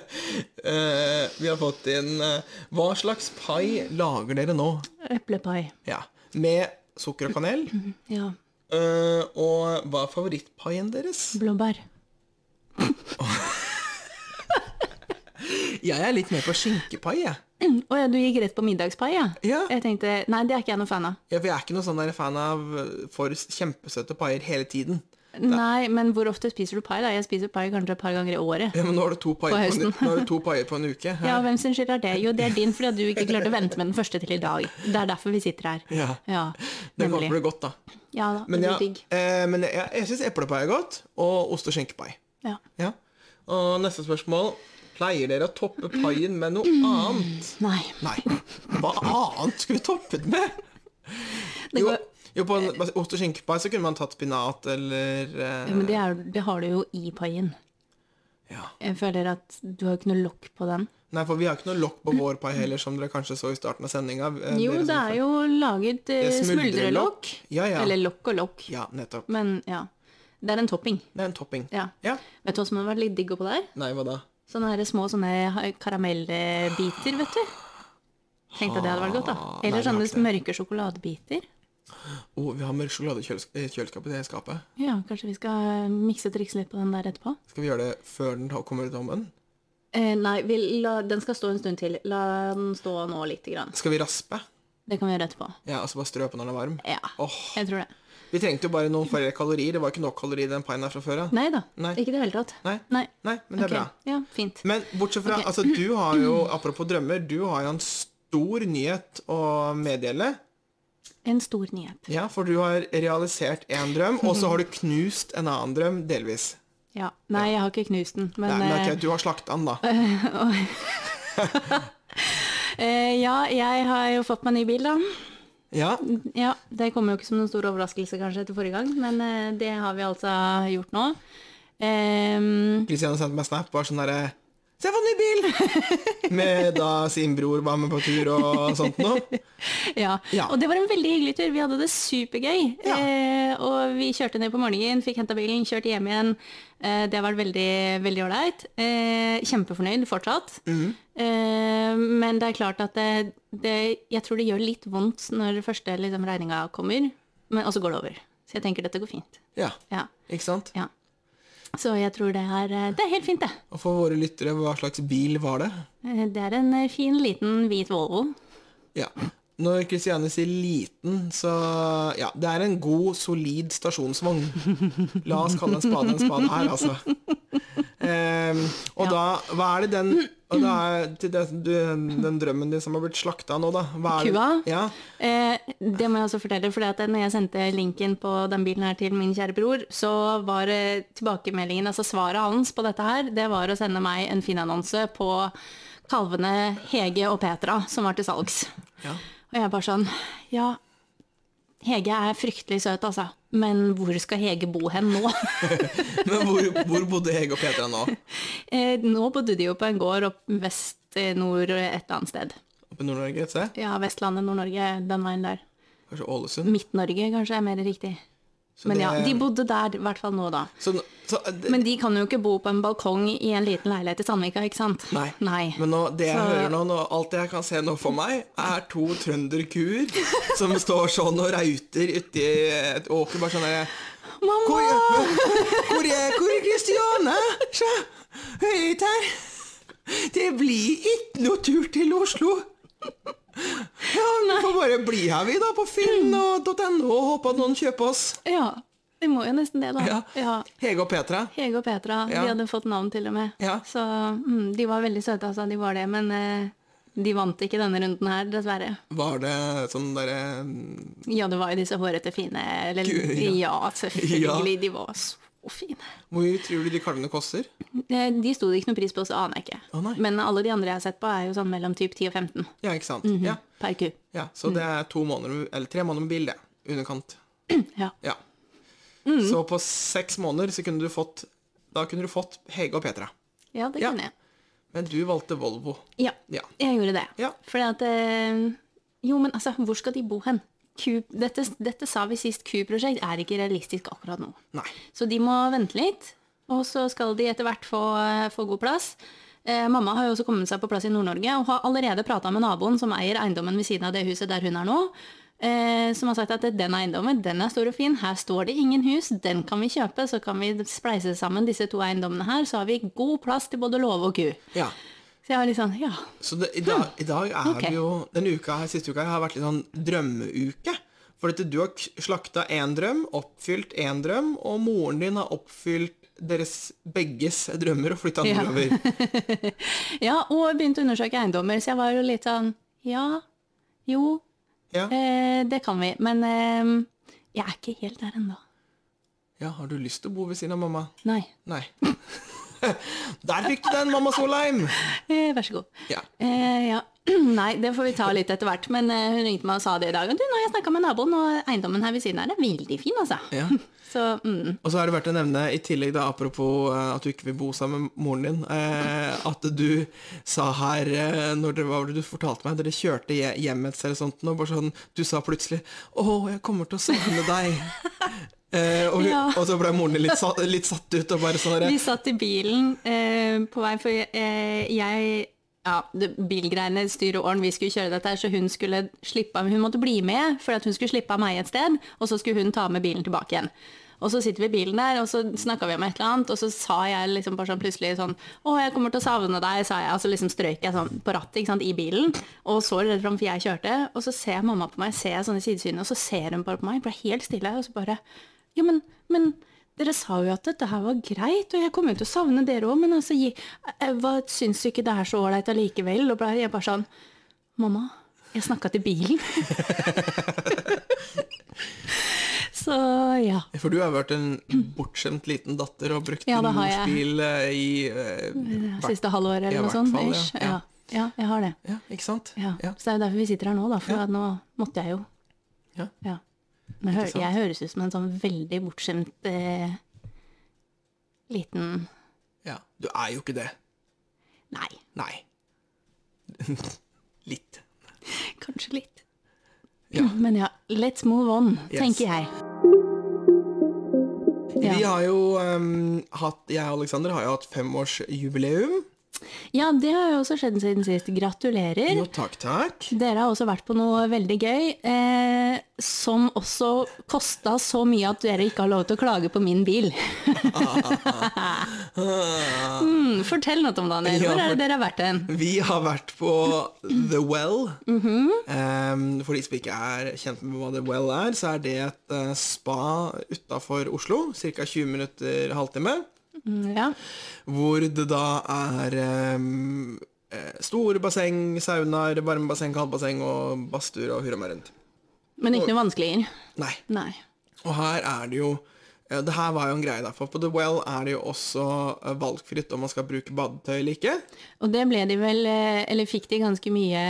Speaker 1: vi har fått inn eh, Hva slags pai lager dere nå?
Speaker 2: Eplepai.
Speaker 1: Ja. Med sukker og kanel.
Speaker 2: Ja.
Speaker 1: Eh, og hva er favorittpaien deres?
Speaker 2: Blåbær.
Speaker 1: Jeg er litt mer på skinkepai, jeg.
Speaker 2: Å ja, du gikk rett på middagspai, ja?
Speaker 1: Ja.
Speaker 2: Jeg tenkte Nei, det er ikke jeg noe fan av.
Speaker 1: Ja, for jeg er ikke noe sånn der fan av eh, for kjempesøte paier hele tiden.
Speaker 2: Nei, men hvor ofte spiser du pai? da? Jeg spiser pai kanskje et par ganger i året.
Speaker 1: Ja, men nå har du to paier på, en-
Speaker 2: høsten.
Speaker 1: nå har du to paier på en uke.
Speaker 2: Ja,
Speaker 1: her.
Speaker 2: hvem sin skyld er det? Jo, det er din fordi at du ikke klarte å vente med den første til i dag. Det er derfor vi sitter her.
Speaker 1: Ja.
Speaker 2: ja
Speaker 1: det
Speaker 2: nemlig.
Speaker 1: kommer det godt, da.
Speaker 2: Ja da, det
Speaker 1: Men,
Speaker 2: blir
Speaker 1: ja,
Speaker 2: digg.
Speaker 1: eh, men jeg, jeg syns eplepai er godt, og ost- og skinkepai.
Speaker 2: Ja.
Speaker 1: Ja. Og neste spørsmål. Pleier dere å toppe paien med noe annet?
Speaker 2: Nei.
Speaker 1: Nei. Hva annet skulle vi toppet med?
Speaker 2: Det
Speaker 1: Jo,
Speaker 2: går,
Speaker 1: jo på en ost- og skinkepai så kunne man tatt spinat eller eh,
Speaker 2: men det, er, det har du jo i paien.
Speaker 1: ja.
Speaker 2: Jeg føler at du har jo ikke noe lokk på den.
Speaker 1: Nei, for vi har ikke noe lokk på vår pai heller, som dere kanskje så i starten av Eh, sendinga.
Speaker 2: Jo, det er jo laget eh,
Speaker 1: Det er smuldrelokk.
Speaker 2: smuldrelokk.
Speaker 1: Ja, ja.
Speaker 2: Eller lokk og lokk.
Speaker 1: Ja, nettopp.
Speaker 2: Men ja. Det er en topping.
Speaker 1: Det er en topping.
Speaker 2: Ja.
Speaker 1: Ja.
Speaker 2: Vet du hva som hadde vært litt digg oppå der?
Speaker 1: Nei, hva da?
Speaker 2: Sånne her små sånne ha- karamellbiter, vet du. Tenkte at det hadde vært godt, da.
Speaker 1: Ah, Nei, det
Speaker 2: Eller
Speaker 1: har
Speaker 2: sånne
Speaker 1: ikke det.
Speaker 2: mørke sjokoladebiter.
Speaker 1: Å, vi har mørk sjokolade i kjølesk- i kjøleskapet. Det skapet.
Speaker 2: Ja, kanskje vi skal eh, mikse og trikse litt på den der etterpå?
Speaker 1: Skal vi gjøre det før den kommer ut av ovnen?
Speaker 2: Eh, nei, vi la, den skal stå en stund til. La den stå nå lite grann.
Speaker 1: Skal vi raspe?
Speaker 2: Det kan vi gjøre etterpå.
Speaker 1: Ja, altså bare strø på når den er varm?
Speaker 2: Ja,
Speaker 1: Åh,
Speaker 2: jeg tror det.
Speaker 1: Vi trengte jo bare noen flere kalorier. Det var ikke nok kalorier i den paien her fra før av.
Speaker 2: Nei da,
Speaker 1: Nei.
Speaker 2: ikke i det hele tatt.
Speaker 1: Nei.
Speaker 2: Nei.
Speaker 1: Nei, men det er
Speaker 2: Ok.
Speaker 1: bra.
Speaker 2: Ja, fint.
Speaker 1: Men bortsett fra,
Speaker 2: Ok.
Speaker 1: altså du har jo, apropos drømmer, du har jo en stor nyhet å meddele.
Speaker 2: En stor nyhet.
Speaker 1: Ja, for du har realisert én drøm, og så har du knust en annen drøm delvis.
Speaker 2: Ja. Nei, jeg har ikke knust den, men,
Speaker 1: Nei, men ok,
Speaker 2: eh,
Speaker 1: du har slakta den, da.
Speaker 2: eh, Ja, jeg har jo fått meg ny bil, da.
Speaker 1: Ja,
Speaker 2: Ja, det kommer jo ikke som noen stor overraskelse kanskje etter forrige gang, men eh, det har vi altså gjort nå. Ehm,
Speaker 1: Kristian sendte meg snap, var sånn derre Se på ny bil! Med da sin bror var med på tur og sånt noe.
Speaker 2: ja.
Speaker 1: Ja.
Speaker 2: og det var en veldig hyggelig tur. Vi hadde det supergøy.
Speaker 1: Ja.
Speaker 2: Eh, og vi kjørte ned på morgenen, fikk henta bilen, kjørte hjem igjen. Eh, det har vært veldig veldig ålreit. Eh, kjempefornøyd fortsatt.
Speaker 1: Mhm.
Speaker 2: Eh, men det er klart at det, det Jeg tror det gjør litt vondt når første liksom, regninga kommer, men, og så går det over. Så jeg tenker dette går fint.
Speaker 1: Ja,
Speaker 2: Ja.
Speaker 1: ikke sant?
Speaker 2: Ja. Så jeg tror det er, eh, det er helt fint, det. Eh,
Speaker 1: Og for våre lyttere, hva slags bil var det?
Speaker 2: Det er en fin, liten hvit Volvo.
Speaker 1: Ja. Når Kristiane sier liten, så Ja, det er en god, solid stasjonsvogn. La oss kalle en spade en spade her, altså. Ehm, og da Hva er det den og da er, til det, du, Den drømmen din som har blitt slakta nå, da? Hva er
Speaker 2: Kua?
Speaker 1: Det, ja,
Speaker 2: Eh, det må jeg også fortelle, for når jeg sendte linken på den bilen her til min kjære bror, så var eh, tilbakemeldingen, altså svaret hans på dette her, det var å sende meg en fin annonse på kalvene Hege og Petra, som var til salgs.
Speaker 1: ja.
Speaker 2: Og jeg bare sånn, ja, Hege er fryktelig søt, altså. Men hvor skal Hege bo hen nå?
Speaker 1: Men hvor, hvor bodde Hege og Petra nå?
Speaker 2: Eh, nå bodde de jo på en gård opp vest, eh, nord, eh, et eller annet sted.
Speaker 1: Oppe i Nord-Norge, et sted?
Speaker 2: Ja, Vestlandet, Nord-Norge, den veien der.
Speaker 1: Kanskje Ålesund?
Speaker 2: Midt-Norge kanskje er mer riktig. Men
Speaker 1: det-
Speaker 2: ja, de bodde der, i hvert fall nå da.
Speaker 1: Så, nå- så, eh, det,
Speaker 2: Men de kan jo ikke bo på en balkong i en liten leilighet i Sandvika, ikke sant?
Speaker 1: nei.
Speaker 2: Nei.
Speaker 1: Men nå, det jeg
Speaker 2: Så-
Speaker 1: hører nå, nå, alt jeg kan se nå for meg, er to trønderkuer som står sånn og rauter uti et åker, bare sånn der
Speaker 2: Mamma!
Speaker 1: Hvor, hvor, er, hvor er Kristiane? Se, høyt her. Det blir ikke noe tur til Oslo. Ja, vi får bare bli her vi da, på Finn og .no og håpe at noen kjøper oss.
Speaker 2: Ja, de må jo nesten det da.
Speaker 1: Ja.
Speaker 2: ja.
Speaker 1: Hege og Petra.
Speaker 2: Hege og Petra,
Speaker 1: Ja.
Speaker 2: de hadde fått navn til og med.
Speaker 1: Ja.
Speaker 2: Så mm, de var veldig søte, altså. De var det, men eh, de vant ikke denne runden her, dessverre.
Speaker 1: Var det sånn derre
Speaker 2: Ja, det var jo disse hårete, fine eller,
Speaker 1: Gud,
Speaker 2: ja.
Speaker 1: ja.
Speaker 2: selvfølgelig. De var så fine.
Speaker 1: Hvor mye tror du de kalvene koster?
Speaker 2: Eh, De sto det ikke noe pris på, så aner jeg ikke.
Speaker 1: Å, nei.
Speaker 2: men alle de andre jeg har sett på, er jo sånn mellom typ 10 og 15
Speaker 1: Ja, ikke sant?
Speaker 2: Mhm.
Speaker 1: ja.
Speaker 2: per ku.
Speaker 1: ja. Så
Speaker 2: Mm.
Speaker 1: det er to måneder, eller tre måneder med bil, det. Underkant.
Speaker 2: Ja.
Speaker 1: Ja.
Speaker 2: Mm.
Speaker 1: Så på seks måneder så kunne du fått Da kunne du fått Hege og Petra.
Speaker 2: ja, det
Speaker 1: Ja.
Speaker 2: kunne jeg.
Speaker 1: Men du valgte Volvo.
Speaker 2: Ja,
Speaker 1: Ja.
Speaker 2: jeg gjorde det.
Speaker 1: Ja.
Speaker 2: Fordi at eh, Jo, men altså, hvor skal de bo hen? Ku, dette, dette sa vi sist, Q-prosjekt er ikke realistisk akkurat nå.
Speaker 1: Nei.
Speaker 2: Så de må vente litt, og så skal de etter hvert få, få god plass. Eh, mamma har jo også kommet seg på plass i Nord-Norge, og har allerede prata med naboen som eier eiendommen ved siden av det huset der hun er nå. Eh, som har sagt at den eiendommen den er stor og fin, her står det ingen hus, den kan vi kjøpe, så kan vi spleise sammen disse to eiendommene her, så har vi god plass til både låve og ku.
Speaker 1: Ja.
Speaker 2: Så jeg var litt sånn, ja.
Speaker 1: Så det, i, dag, i dag er
Speaker 2: Hm. Ok.
Speaker 1: vi jo Denne uka her, siste uka her har vært litt sånn drømmeuke. For at du har k- slakta én drøm, oppfylt én drøm, og moren din har oppfylt deres begges drømmer og flytta
Speaker 2: Ja.
Speaker 1: nordover.
Speaker 2: ja. Og begynte å undersøke eiendommer, så jeg var jo litt sånn, ja, jo,
Speaker 1: Ja.
Speaker 2: eh, det kan vi. Men eh, jeg er ikke helt der ennå.
Speaker 1: ja, har du lyst til å bo ved siden av mamma?
Speaker 2: Nei.
Speaker 1: Nei. Der fikk du den, mamma Solheim!
Speaker 2: Eh, vær så god.
Speaker 1: Ja.
Speaker 2: Eh, ja. Nei, det får vi ta litt etter hvert. Men eh, hun ringte meg og sa det i dag. Og du, nå har jeg snakka med naboen, og eiendommen her ved siden her er veldig fin, altså.
Speaker 1: ja.
Speaker 2: Så mm.
Speaker 1: Og så er det verdt å nevne, i tillegg da, apropos eh, at du ikke vil bo sammen med moren din, eh, at du sa her, eh, når det, hva var det du fortalte meg, dere kjørte hje- hjem et sted eller sånt, og bare sånn, du sa plutselig, åh, jeg kommer til å savne deg. eh, og, hun-
Speaker 2: Ja.
Speaker 1: og så ble moren din litt satt, litt satt ut, og bare sånn, der,
Speaker 2: vi satt i bilen eh, på vei, for eh, jeg ja, det, Bilgreiene styr og åren, vi skulle kjøre dette, her, så hun skulle slippe av Hun måtte bli med, for at hun skulle slippe av meg et sted, og så skulle hun ta med bilen tilbake igjen. Og så sitter vi i bilen der, og så snakka vi om et eller annet, og så sa jeg liksom bare sånn plutselig sånn Å, jeg kommer til å savne deg, sa jeg, og så liksom strøyk jeg sånn på rattet ikke sant, i bilen, og så rett fram, for jeg kjørte, og så ser mamma på meg, ser jeg sånn i sidesynet, og så ser hun bare på meg, ble helt stille, og så bare Ja, men, men dere sa jo at dette her var greit, og jeg kommer jo til å savne dere òg, men altså, gi- eh, hva syns du ikke det er så ålreit allikevel? Og ble jeg bare sånn Mamma, jeg snakka til bilen. så ja.
Speaker 1: for du har vært en bortskjemt liten datter og brukt
Speaker 2: Ja, det har jeg.
Speaker 1: mors bil eh, i, eh, hvert-
Speaker 2: Siste halvåret
Speaker 1: Ja,
Speaker 2: eller
Speaker 1: i
Speaker 2: noe
Speaker 1: hvert
Speaker 2: sånt.
Speaker 1: fall, ja.
Speaker 2: ish.
Speaker 1: Ja.
Speaker 2: Ja. ja, jeg har det.
Speaker 1: ja, ikke sant?
Speaker 2: Ja.
Speaker 1: Ja.
Speaker 2: Så det er jo derfor vi sitter her nå, da, for at nå måtte jeg jo.
Speaker 1: Ja. Ikke
Speaker 2: Men jeg, hø
Speaker 1: sant?
Speaker 2: jeg høres ut som en sånn veldig bortskjemt eh, liten
Speaker 1: ja. Du er jo ikke det.
Speaker 2: Nei,
Speaker 1: Nei. litt.
Speaker 2: kanskje litt.
Speaker 1: Ja.
Speaker 2: Men ja, let's move on,
Speaker 1: Yes.
Speaker 2: tenker jeg. Ja.
Speaker 1: Vi har jo ehm, hatt, jeg og Alexander har jo hatt femårsjubileum.
Speaker 2: ja, det har jo også skjedd siden sist. Gratulerer.
Speaker 1: Jo, takk, takk.
Speaker 2: Dere har også vært på noe veldig gøy, eh, som også kosta så mye at dere ikke har lov til å klage på min bil.
Speaker 1: Ah,
Speaker 2: Mm, fortell noe om det, Daniel.
Speaker 1: Ja,
Speaker 2: Hvor er
Speaker 1: for-
Speaker 2: det dere har vært hen?
Speaker 1: Vi har vært på The Well. Ehm, for de som ikke er kjent med hva The Well er, så er det et eh, spa utafor Oslo. Ca. 20 minutter, halvtime.
Speaker 2: Mm, ja.
Speaker 1: Hvor det da er ehm, eh, store basseng, saunaer, varmebasseng, kaldbasseng og badstuer og hurra meg rundt.
Speaker 2: Men ikke noe vanskeligere.
Speaker 1: Nei.
Speaker 2: Nei.
Speaker 1: Og her er det jo eh, det her var jo en greie, da. For på The Well er det jo også eh, valgfritt om man skal bruke badetøy eller ikke.
Speaker 2: Og det ble de vel, eh, eller fikk de ganske mye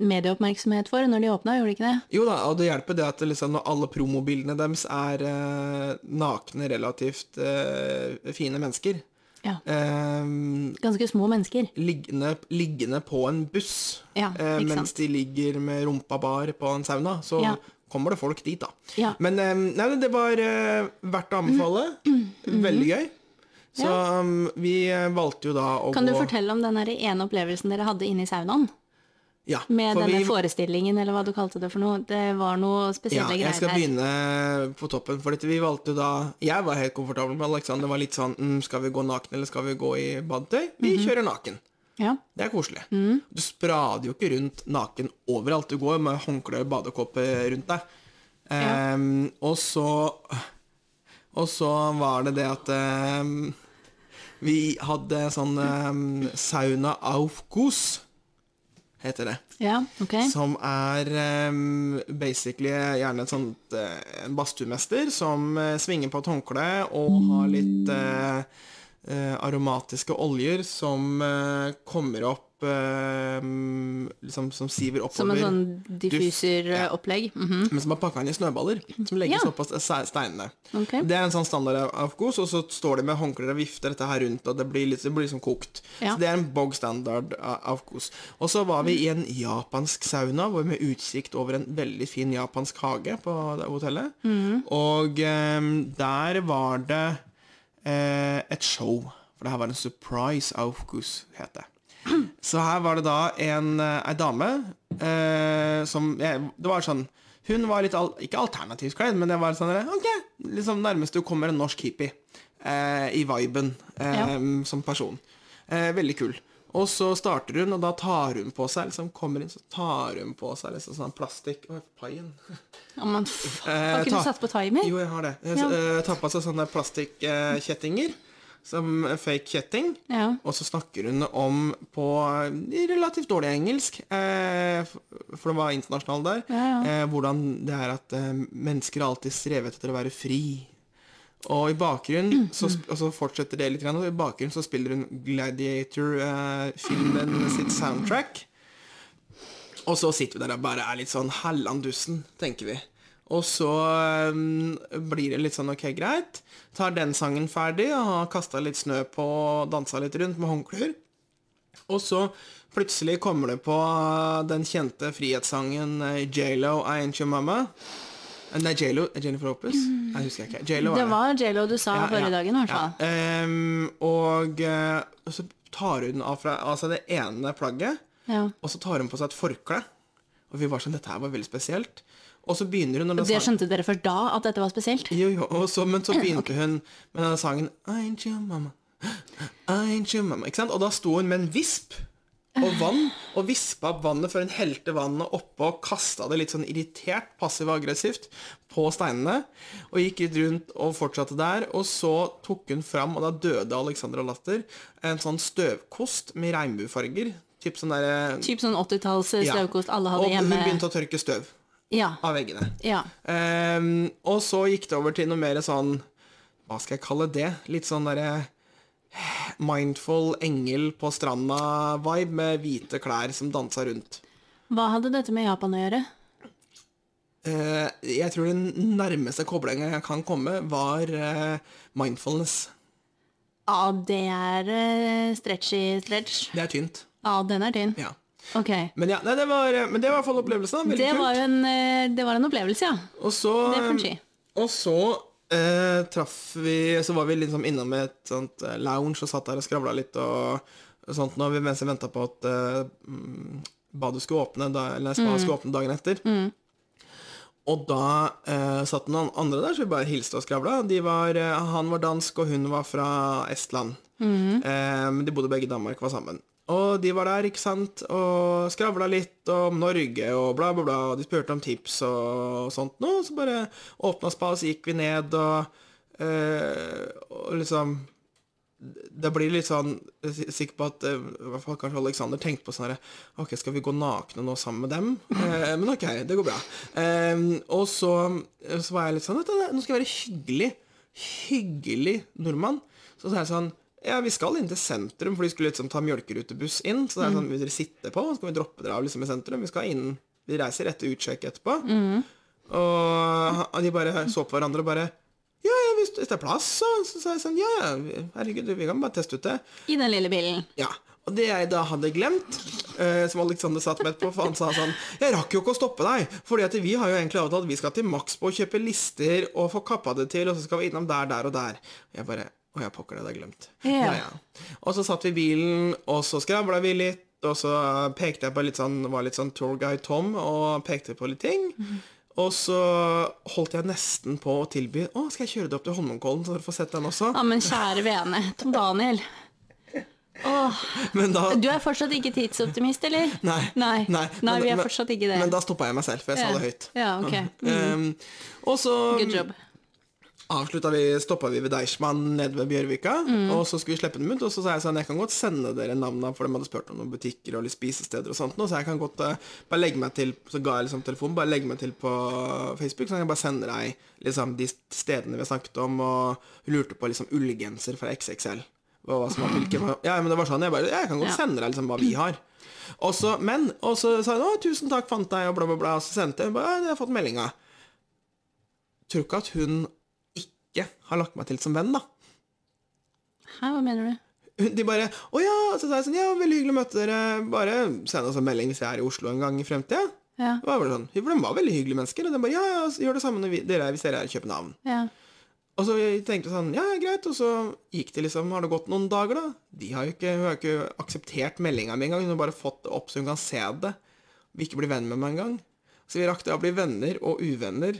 Speaker 2: medieoppmerksomhet for når de åpna, gjorde de ikke det?
Speaker 1: Jo da, og det hjelper det at liksom, når alle promobildene deres er eh, nakne, relativt eh, fine mennesker
Speaker 2: Ja.
Speaker 1: eh,
Speaker 2: Ganske små mennesker.
Speaker 1: liggende, liggende på en buss
Speaker 2: Ja,
Speaker 1: eh,
Speaker 2: ikke
Speaker 1: mens
Speaker 2: sant.
Speaker 1: de ligger med rumpa bar på en sauna, så
Speaker 2: Ja.
Speaker 1: kommer det folk dit, da.
Speaker 2: Ja.
Speaker 1: Men eh, nei, det var eh, verdt å anbefale.
Speaker 2: Mm.
Speaker 1: Veldig gøy. Så um, vi eh, valgte jo da å
Speaker 2: Kan du
Speaker 1: gå
Speaker 2: fortelle om den her ene opplevelsen dere hadde inne i saunaen?
Speaker 1: ja,
Speaker 2: Med
Speaker 1: for
Speaker 2: denne
Speaker 1: vi-
Speaker 2: forestillingen, eller hva du kalte det for noe. Det var noe
Speaker 1: Ja,
Speaker 2: spesielle
Speaker 1: jeg
Speaker 2: greier
Speaker 1: skal
Speaker 2: der.
Speaker 1: begynne eh, på toppen. For dette, vi valgte jo da Jeg var helt komfortabel med Alexander. Det var litt sånn mm, Skal vi gå naken, eller skal vi gå i badetøy? Vi
Speaker 2: Mhm.
Speaker 1: kjører naken.
Speaker 2: Ja.
Speaker 1: Det er koselig. Du sprader jo ikke rundt naken overalt. Du går med håndkle og badekåpe rundt deg. Ehm, og så Og så var det det at ehm, vi hadde sånn ehm, sauna aufkos, heter det.
Speaker 2: ja, ok.
Speaker 1: Som er ehm, basically gjerne et sånt eh, en badstuemester som eh, svinger på et håndkle og har litt eh, eh, aromatiske oljer som eh, kommer opp ehm, liksom, Som siver oppover.
Speaker 2: Som en sånn
Speaker 1: ja.
Speaker 2: diffuseropplegg. Mhm.
Speaker 1: Men som er pakka inn i snøballer, som legges
Speaker 2: Mm. Ja.
Speaker 1: opp av ste- steinene.
Speaker 2: Ok.
Speaker 1: Det er en sånn standard afkos, og så står de med håndklær og vifter dette her rundt, og det blir, litt, det blir liksom kokt.
Speaker 2: Ja.
Speaker 1: Så det er en bog standard afkos. Og så var vi i en japansk sauna hvor med utsikt over en veldig fin japansk hage på det hotellet.
Speaker 2: Mm.
Speaker 1: Og eh, der var det eh, et show, for det her var en surprise afkos, het det. Så her var det da en, eh, ei dame eh, som jeg, Det var sånn Hun var litt al ikke alternativt kledd, men det var sånn der, Ok, liksom nærmest du kommer en norsk hippie eh, i viben eh, som person. Eh, veldig kul. Og så starter hun, og da tar hun på seg liksom kommer inn, så tar hun på seg liksom sånn plastikk Oi, paien.
Speaker 2: Ja, men f-
Speaker 1: Eh,
Speaker 2: Har ikke
Speaker 1: ta-
Speaker 2: du satt på timer?
Speaker 1: Jo, jeg har det. Jeg
Speaker 2: Ja.
Speaker 1: eh, tar på seg sånne plastikkjettinger. Som fake kjetting.
Speaker 2: Ja.
Speaker 1: Og så snakker hun om på eh, relativt dårlig engelsk, eh, f- for det var internasjonal der,
Speaker 2: Ja,
Speaker 1: Eh, hvordan det er at eh, mennesker alltid strevet etter å være fri. Og i bakgrunnen så, sp- og så fortsetter det litt, grann, og i bakgrunnen så spiller hun Gladiator-filmen sitt soundtrack. Og så sitter vi der og bare er litt sånn hallandussen, tenker vi. Og så øhm, blir det litt sånn ok, greit. Tar den sangen ferdig og har kasta litt snø på og dansa litt rundt med håndklær. Og så plutselig kommer det på øh, den kjente frihetssangen øh, J.Lo, I Ain't Your Mama. Eh, Nei, J.Lo, Jennifer Opus? Nei, husker jeg ikke. J.Lo er
Speaker 2: Det var J.Lo du sa
Speaker 1: Ja,
Speaker 2: forrige
Speaker 1: ja,
Speaker 2: dagen, i hvert
Speaker 1: ja.
Speaker 2: fall.
Speaker 1: Ehm, og øh, og så tar hun av, fra, av seg det ene plagget.
Speaker 2: Ja.
Speaker 1: Og så tar hun på seg et forkle. Og vi var sånn, dette her var veldig spesielt. Og så begynner hun når den
Speaker 2: Det
Speaker 1: sangen-
Speaker 2: skjønte dere før da, at dette var spesielt?
Speaker 1: jo, jo, og så, Men så begynte hun med denne sangen I ain't your mama, I ain't your mama. Ikke sant? Og da sto hun med en visp og vann, og vispa opp vannet før hun helte vannet oppå og kasta det litt sånn irritert, passiv-aggressivt på steinene. Og gikk litt rundt og fortsatte der. Og så tok hun fram, og da døde Alexander av latter, en sånn støvkost med regnbuefarger. Typ sånn derre
Speaker 2: Typ sånn 80-talls eh,
Speaker 1: Ja.
Speaker 2: støvkost alle hadde
Speaker 1: Og hun
Speaker 2: hjemme.
Speaker 1: begynte å tørke støv
Speaker 2: Ja.
Speaker 1: av veggene.
Speaker 2: ja.
Speaker 1: Ehm, og så gikk det over til noe mer sånn Hva skal jeg kalle det? Litt sånn derre eh, mindful engel på stranda-vibe med hvite klær som dansa rundt.
Speaker 2: Hva hadde dette med Japan å gjøre?
Speaker 1: Eh, jeg tror den nærmeste koblinga jeg kan komme, var eh, mindfulness.
Speaker 2: Ja, Ah, det er eh, stretchy stretch.
Speaker 1: Det er tynt.
Speaker 2: Ja, den er tynn.
Speaker 1: Ja.
Speaker 2: Ok.
Speaker 1: Men, ja, nei, det var, men det var i hvert fall opplevelsen. da. Veldig
Speaker 2: Det
Speaker 1: kult.
Speaker 2: var, jo en, eh, det var en opplevelse, ja.
Speaker 1: Og så,
Speaker 2: Det får en si.
Speaker 1: og så eh, traff vi Så var vi liksom innom et sånt eh, lounge og satt der og skravla litt og, og sånt når vi, mens vi venta på at eh, mm, badet skulle åpne, da, eller spa
Speaker 2: Mm.
Speaker 1: skulle åpne dagen etter. Og da eh, satt noen andre der, så vi bare hilste og skravla. De var, eh, han var dansk, og hun var fra Estland. Eh, men de bodde begge i Danmark, var sammen. Og de var der, ikke sant, og skravla litt om Norge og bla, bla, bla. Og de spurte om tips og sånt noe. Så bare åpna spa, og så gikk vi ned, og, eh, og liksom det blir litt sånn jeg er sikker på at eh, i hvert fall kanskje Alexander tenkte på sånn herre Ok, skal vi gå nakne nå sammen med dem? Eh, men ok, det går bra. Eh, og så, så var jeg litt sånn vet du, Nå skal jeg være hyggelig. Hyggelig nordmann. Så sa jeg sånn Ja, vi skal inn til sentrum, for de skulle liksom ta mjølkerutebuss inn. Så det er sånn, vil dere sitte på? Så kan vi droppe dere av liksom i sentrum. Vi skal inn Vi reiser rett til utsjekk etterpå. Og han- de bare så på hverandre og bare Ja, ja, hvis hvis det er plass, så, så sa jeg sånn Ja, ja, herregud, vi kan bare teste ut det.
Speaker 2: I den lille bilen.
Speaker 1: Ja. Og Og det jeg da hadde glemt, eh, som Alexander satt med på, for han sa sånn Jeg rakk jo ikke å stoppe deg, fordi at vi har jo egentlig avtalt at vi skal til Maxbo og kjøpe lister og få kappa det til, og så skal vi innom der, der og der. Og jeg bare Å ja, pokker, det hadde jeg glemt.
Speaker 2: Ja.
Speaker 1: Og så satt vi i bilen, og så skravla vi litt, og så pekte jeg på litt sånn Var litt sånn tourguide Tom og pekte på litt ting. Og så holdt jeg nesten på å tilby Å, skal jeg kjøre deg opp til Holmenkollen, så dere får sett den også?
Speaker 2: Ja, men kjære vene, Tom Daniel. Åh,
Speaker 1: Men da
Speaker 2: du er fortsatt ikke tidsoptimist, eller?
Speaker 1: Nei.
Speaker 2: Nei,
Speaker 1: men-
Speaker 2: vi er
Speaker 1: men-
Speaker 2: fortsatt ikke det.
Speaker 1: Men da stoppa jeg meg selv, for jeg
Speaker 2: Ja.
Speaker 1: sa det høyt.
Speaker 2: Ja, ok.
Speaker 1: Um, og så
Speaker 2: Good job.
Speaker 1: avslutta vi, stoppa vi ved Deichman nede ved Bjørvika, og så skulle vi slippe dem ut. Og så sa jeg sånn, jeg kan godt sende dere navna, for de hadde spurt om noen butikker og litt spisesteder og sånt. nå, Så jeg kan godt eh, bare legge meg til Så ga jeg liksom telefonen, bare legge meg til på Facebook, så kan jeg bare sende deg liksom de stedene vi har snakket om, og hun lurte på liksom ullgenser fra XXL. Og hva som var hvilken Ja, men det var sånn, jeg bare Jeg kan godt
Speaker 2: Ja.
Speaker 1: sende deg liksom hva vi har. Og så, men, og så sa hun å, tusen takk, fant deg, og bla, bla, bla. Og så sendte jeg, hun bare, «Ja, jeg har fått meldinga. Tror ikke at hun ikke har lagt meg til som venn, da.
Speaker 2: Hæ, hva mener du?
Speaker 1: Hun- De bare 'Å ja', så sa jeg sånn 'Ja, veldig hyggelig å møte dere. Bare send oss en melding hvis jeg er i Oslo en gang i fremtida'.
Speaker 2: Ja,
Speaker 1: Det var bare sånn, for de var veldig hyggelige mennesker, og de bare 'Ja, ja, så gjør det samme når vi, dere er, hvis dere er i København'.
Speaker 2: ja.
Speaker 1: Og så jeg tenkte sånn 'Ja, greit', og så gikk det liksom Har det gått noen dager, da? De har jo ikke, hun har jo ikke akseptert meldinga mi engang, hun har bare fått det opp så hun kan se det. Vil ikke bli venn med meg engang. Så vi rakk det å bli venner og uvenner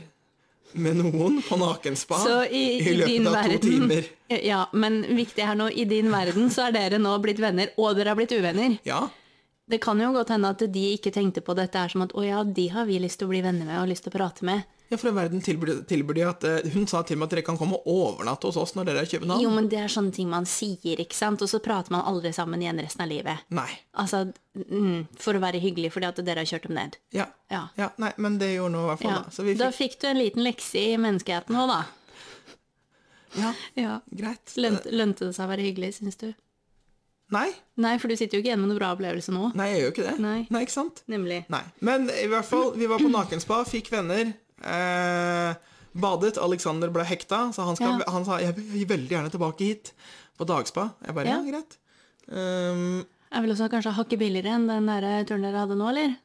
Speaker 1: med noen på nakenspa
Speaker 2: Så i, i,
Speaker 1: Ah, løpet
Speaker 2: din
Speaker 1: av to
Speaker 2: verden
Speaker 1: timer.
Speaker 2: Ja, men viktig her nå, i din verden så er dere nå blitt venner, og dere har blitt uvenner.
Speaker 1: Ja.
Speaker 2: Det kan jo godt hende at de ikke tenkte på dette her som at å ja, de har vi lyst til å bli venner med og lyst til å prate med.
Speaker 1: Ja, for i verden tilbyr, tilbyr de at eh, Hun sa til meg at dere kan komme og overnatte hos oss når dere er i København.
Speaker 2: Jo, men det er sånne ting man sier, ikke sant, og så prater man aldri sammen igjen resten av livet.
Speaker 1: Nei.
Speaker 2: Altså, mm, for å være hyggelig, fordi at dere har kjørt dem ned.
Speaker 1: Ja.
Speaker 2: Ja.
Speaker 1: ja. Nei, men det gjorde nå i hvert fall,
Speaker 2: Ja.
Speaker 1: da. Så vi
Speaker 2: Da
Speaker 1: fikk
Speaker 2: fikk du en liten lekse i menneskeheten òg, da.
Speaker 1: Ja,
Speaker 2: Ja.
Speaker 1: greit.
Speaker 2: Lønte, lønte det seg å være hyggelig, syns du?
Speaker 1: Nei.
Speaker 2: Nei, for du sitter jo ikke igjen med noen bra opplevelse nå.
Speaker 1: Nei, jeg gjør jo ikke det.
Speaker 2: Nei.
Speaker 1: Nei, ikke sant?
Speaker 2: Nemlig.
Speaker 1: Nei. Men i hvert fall, vi var på nakenspa, fikk venner. Eh, badet. Alexander ble hekta, så han, skal,
Speaker 2: Ja.
Speaker 1: han sa jeg vil veldig gjerne tilbake hit. På dagspa. Jeg bare ja,
Speaker 2: Ja.
Speaker 1: greit. Ehm,
Speaker 2: Er vel også kanskje hakket billigere enn den der turen dere hadde nå, eller?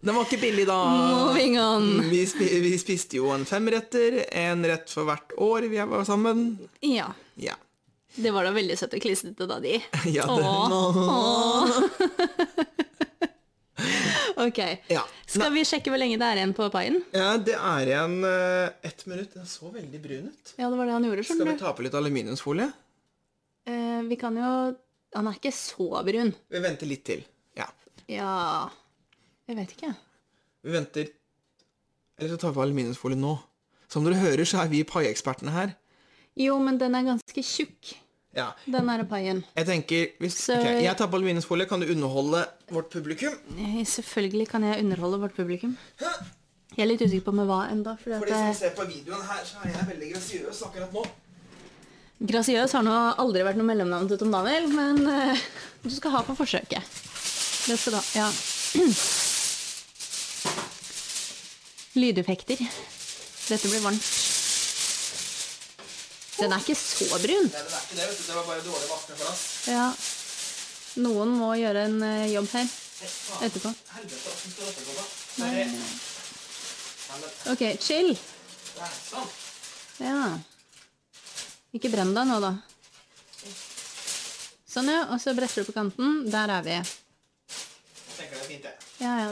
Speaker 1: den var ikke billig da.
Speaker 2: Moving on!
Speaker 1: Vi, spi vi spiste jo en femretter, en rett for hvert år vi var sammen.
Speaker 2: Ja.
Speaker 1: Ja.
Speaker 2: Det var da veldig søtt og klissete da, de.
Speaker 1: Ja, det,
Speaker 2: Åh. Ok.
Speaker 1: ja.
Speaker 2: Skal vi sjekke hvor lenge det er igjen på paien?
Speaker 1: ja det er igjen uh, ett minutt. Den så veldig brun ut.
Speaker 2: Ja, det var det han gjorde,
Speaker 1: Skal
Speaker 2: skjønner
Speaker 1: vi
Speaker 2: du.
Speaker 1: ta på litt aluminiumsfolie?
Speaker 2: Eh, vi kan jo Han er ikke så brun.
Speaker 1: Vi venter litt til. Ja.
Speaker 2: Ja Jeg vet ikke.
Speaker 1: Vi venter Eller så tar vi på aluminiumsfolie nå. Som dere hører, så er vi paieekspertene her.
Speaker 2: Jo, men den er ganske tjukk,
Speaker 1: Ja.
Speaker 2: den derre paien.
Speaker 1: Jeg tenker hvis,
Speaker 2: Så-
Speaker 1: ok, Jeg tar på aluminiumsfolie. Kan du underholde vårt publikum?
Speaker 2: Eh, Selvfølgelig kan jeg underholde vårt publikum. Jeg er litt usikker på med hva enda, fordi
Speaker 1: For de som
Speaker 2: at eh,
Speaker 1: ser på videoen her, så er jeg veldig grasiøs akkurat nå.
Speaker 2: Grasiøs har nå aldri vært noe mellomnavn til Tom Daniel, men eh, du skal ha på forsøket. Det skal du ha. Ja. Lydeffekter. Dette blir varmt. Den er ikke så brun.
Speaker 1: Nei, det er ikke det, vet du. Det var bare dårlig vaskende glass.
Speaker 2: Ja. Noen må gjøre en eh, jobb her
Speaker 1: Fy faen,
Speaker 2: etterpå.
Speaker 1: Helvete, hvordan skal dette gå, da?
Speaker 2: Nei.
Speaker 1: Nei, men,
Speaker 2: Ok, chill.
Speaker 1: det er sånn.
Speaker 2: Ja. Ikke brenn deg nå, da. Sånn, ja. Og så bretter du på kanten. Der er vi.
Speaker 1: Jeg tenker det er fint, jeg.
Speaker 2: Ja, ja.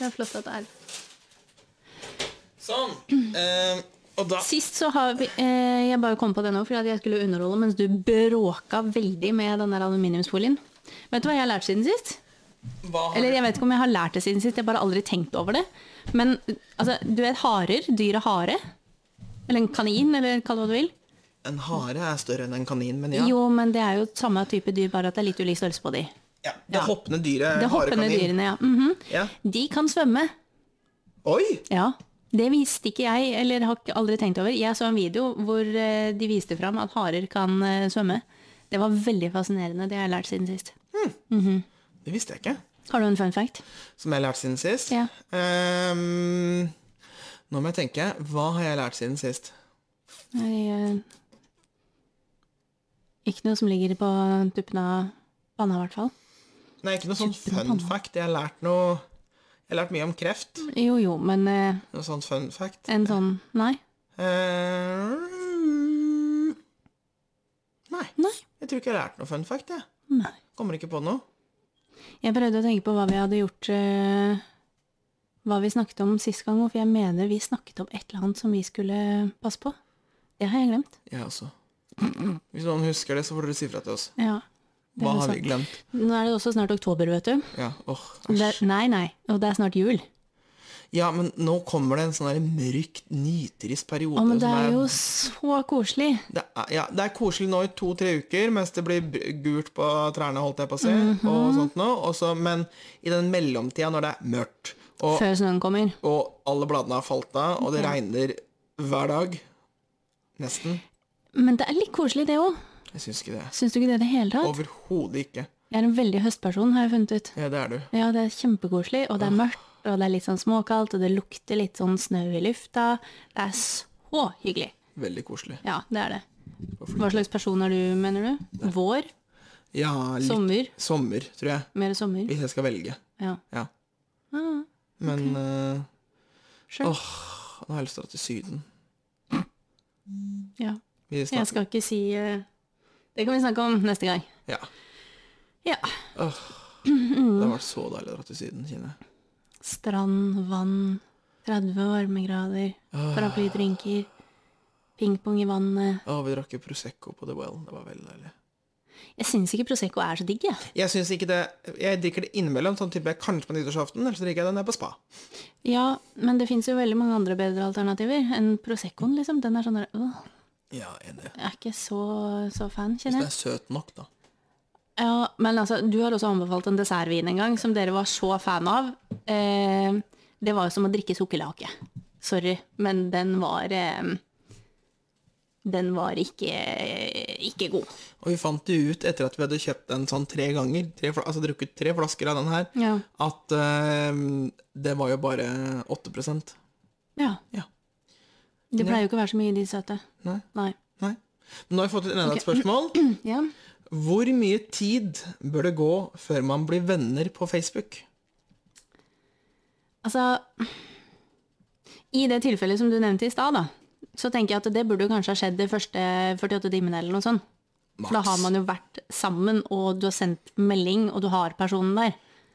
Speaker 2: Det er flott at det er.
Speaker 1: Sånn. Eh, og da
Speaker 2: Sist så har vi eh, Jeg bare kom på det nå fordi at jeg skulle underholde mens du bråka veldig med den der aluminiumsfolien. Vet du hva jeg har lært siden sist?
Speaker 1: Hva har
Speaker 2: Eller jeg vet ikke om jeg har lært det siden sist, jeg har bare aldri tenkt over det. Men altså, du vet harer? Dyret hare? Eller en kanin, eller kall det hva du vil.
Speaker 1: En hare er større enn en kanin, men ja.
Speaker 2: Jo, men det er jo samme type dyr, bare at det er litt ulik størrelse på de.
Speaker 1: ja det
Speaker 2: Ja.
Speaker 1: hoppende dyret
Speaker 2: Det
Speaker 1: er
Speaker 2: hoppende
Speaker 1: harekanin.
Speaker 2: dyrene, ja. Mhm.
Speaker 1: Ja.
Speaker 2: De kan svømme.
Speaker 1: Oi!
Speaker 2: Ja, det visste ikke jeg, eller har ikke- aldri tenkt over. Jeg så en video hvor eh, de viste fram at harer kan eh, svømme. Det var veldig fascinerende, det har jeg lært siden sist.
Speaker 1: Det visste jeg ikke.
Speaker 2: Har du en fun fact?
Speaker 1: Som jeg har lært siden sist.
Speaker 2: Ja.
Speaker 1: Ehm, nå må jeg tenke. Hva har jeg lært siden sist?
Speaker 2: Jeg, eh, Ikke noe som ligger på tuppen av panna, i hvert fall.
Speaker 1: Nei, ikke noe sånn
Speaker 2: Tuppen og
Speaker 1: fun
Speaker 2: panna.
Speaker 1: fact. Jeg har lært noe Jeg har lært mye om kreft.
Speaker 2: Jo jo, men eh,
Speaker 1: Noe sånn fun fact.
Speaker 2: en sånn Nei.
Speaker 1: Eh, nei.
Speaker 2: Nei.
Speaker 1: Jeg tror ikke jeg har lært noe fun fact, jeg.
Speaker 2: Nei.
Speaker 1: Kommer ikke på noe.
Speaker 2: Jeg prøvde å tenke på hva vi hadde gjort eh, Hva vi snakket om sist gang, for jeg mener vi snakket om et eller annet som vi skulle passe på. Det har jeg glemt.
Speaker 1: Jeg også. Hvis noen husker det, så får dere si fra til oss.
Speaker 2: Ja. Det
Speaker 1: Hva
Speaker 2: er
Speaker 1: har
Speaker 2: sant.
Speaker 1: vi glemt?
Speaker 2: Nå er det også snart oktober, vet du.
Speaker 1: Ja, åh,
Speaker 2: Det,
Speaker 1: æsj.
Speaker 2: nei, nei. Og det er snart jul.
Speaker 1: Ja, men nå kommer det en sånn der mørk, nitrist periode.
Speaker 2: Å, men det
Speaker 1: som
Speaker 2: er jo så koselig.
Speaker 1: det er, ja, det er koselig nå i to-tre uker, mens det blir br- gult på trærne, holdt jeg på å si.
Speaker 2: Mhm.
Speaker 1: og sånt nå. Og så- men i den mellomtida, når det er mørkt, og,
Speaker 2: Før snøen kommer.
Speaker 1: og alle bladene har falt av, og det
Speaker 2: Mhm.
Speaker 1: regner hver dag Nesten.
Speaker 2: Men det er litt koselig, det òg.
Speaker 1: Jeg syns ikke det.
Speaker 2: Syns du ikke det i det hele tatt?
Speaker 1: Overhodet ikke.
Speaker 2: Jeg er en veldig høstperson, har jeg funnet ut.
Speaker 1: Ja, det er du.
Speaker 2: Ja, det er kjempekoselig, og det er mørkt, og det er litt sånn småkaldt, og det lukter litt sånn snø i lufta. Det er så hyggelig.
Speaker 1: Veldig koselig.
Speaker 2: Ja, det er det. Hva slags person er du, mener du? Vår?
Speaker 1: Ja, litt sommer.
Speaker 2: Sommer?
Speaker 1: tror jeg.
Speaker 2: Mer sommer?
Speaker 1: Hvis jeg skal velge.
Speaker 2: Ja.
Speaker 1: Ja.
Speaker 2: Ah,
Speaker 1: Men eh,
Speaker 2: sure.
Speaker 1: Åh, nå har jeg lyst til å dra til Syden.
Speaker 2: Ja.
Speaker 1: Vi
Speaker 2: Jeg
Speaker 1: snakker
Speaker 2: skal ikke si eh, Det kan vi snakke om neste gang.
Speaker 1: Ja.
Speaker 2: Ja. Mm.
Speaker 1: Åh, det har vært så deilig å dra til Syden, kjenner jeg.
Speaker 2: Strand, vann, 30 varmegrader, paraplydrinker, pingpong i vannet.
Speaker 1: Åh, vi drakk jo Prosecco på The Well. Det var veldig deilig.
Speaker 2: Jeg syns ikke Prosecco er så digg, jeg.
Speaker 1: Jeg synes ikke det Jeg drikker det innimellom, sånn type kanskje på nyttårsaften, eller så drikker jeg det nede på spa.
Speaker 2: Ja, men det fins jo veldig mange andre bedre alternativer enn Proseccoen, liksom. Den er sånn der, øh,
Speaker 1: Ja, enig.
Speaker 2: Jeg er ikke så, så fan,
Speaker 1: Det
Speaker 2: kjenner jeg.
Speaker 1: er søt nok, da.
Speaker 2: Ja, men altså, du har også anbefalt en dessertvin en gang som dere var så fan av. Eh, det var jo som å drikke sukkerlake. Sorry, men den var eh, Den var ikke, ikke god.
Speaker 1: Og vi fant jo ut, etter at vi hadde kjøpt den sånn tre ganger, tre, fla- altså drukket tre flasker av den her,
Speaker 2: Ja.
Speaker 1: at eh, det var jo bare 8
Speaker 2: ja.
Speaker 1: Ja.
Speaker 2: Det pleier jo ikke å være så mye i de søte.
Speaker 1: Nei.
Speaker 2: Nei.
Speaker 1: Nei. Men nå har jeg fått inn enda et
Speaker 2: Ok.
Speaker 1: spørsmål.
Speaker 2: Ja.
Speaker 1: Hvor mye tid bør det gå før man blir venner på Facebook?
Speaker 2: Altså I det tilfellet som du nevnte i stad, da, så tenker jeg at det burde jo kanskje ha skjedd de første 48 timene eller noe sånt. For da har man jo vært sammen, og du har sendt melding, og du har personen der.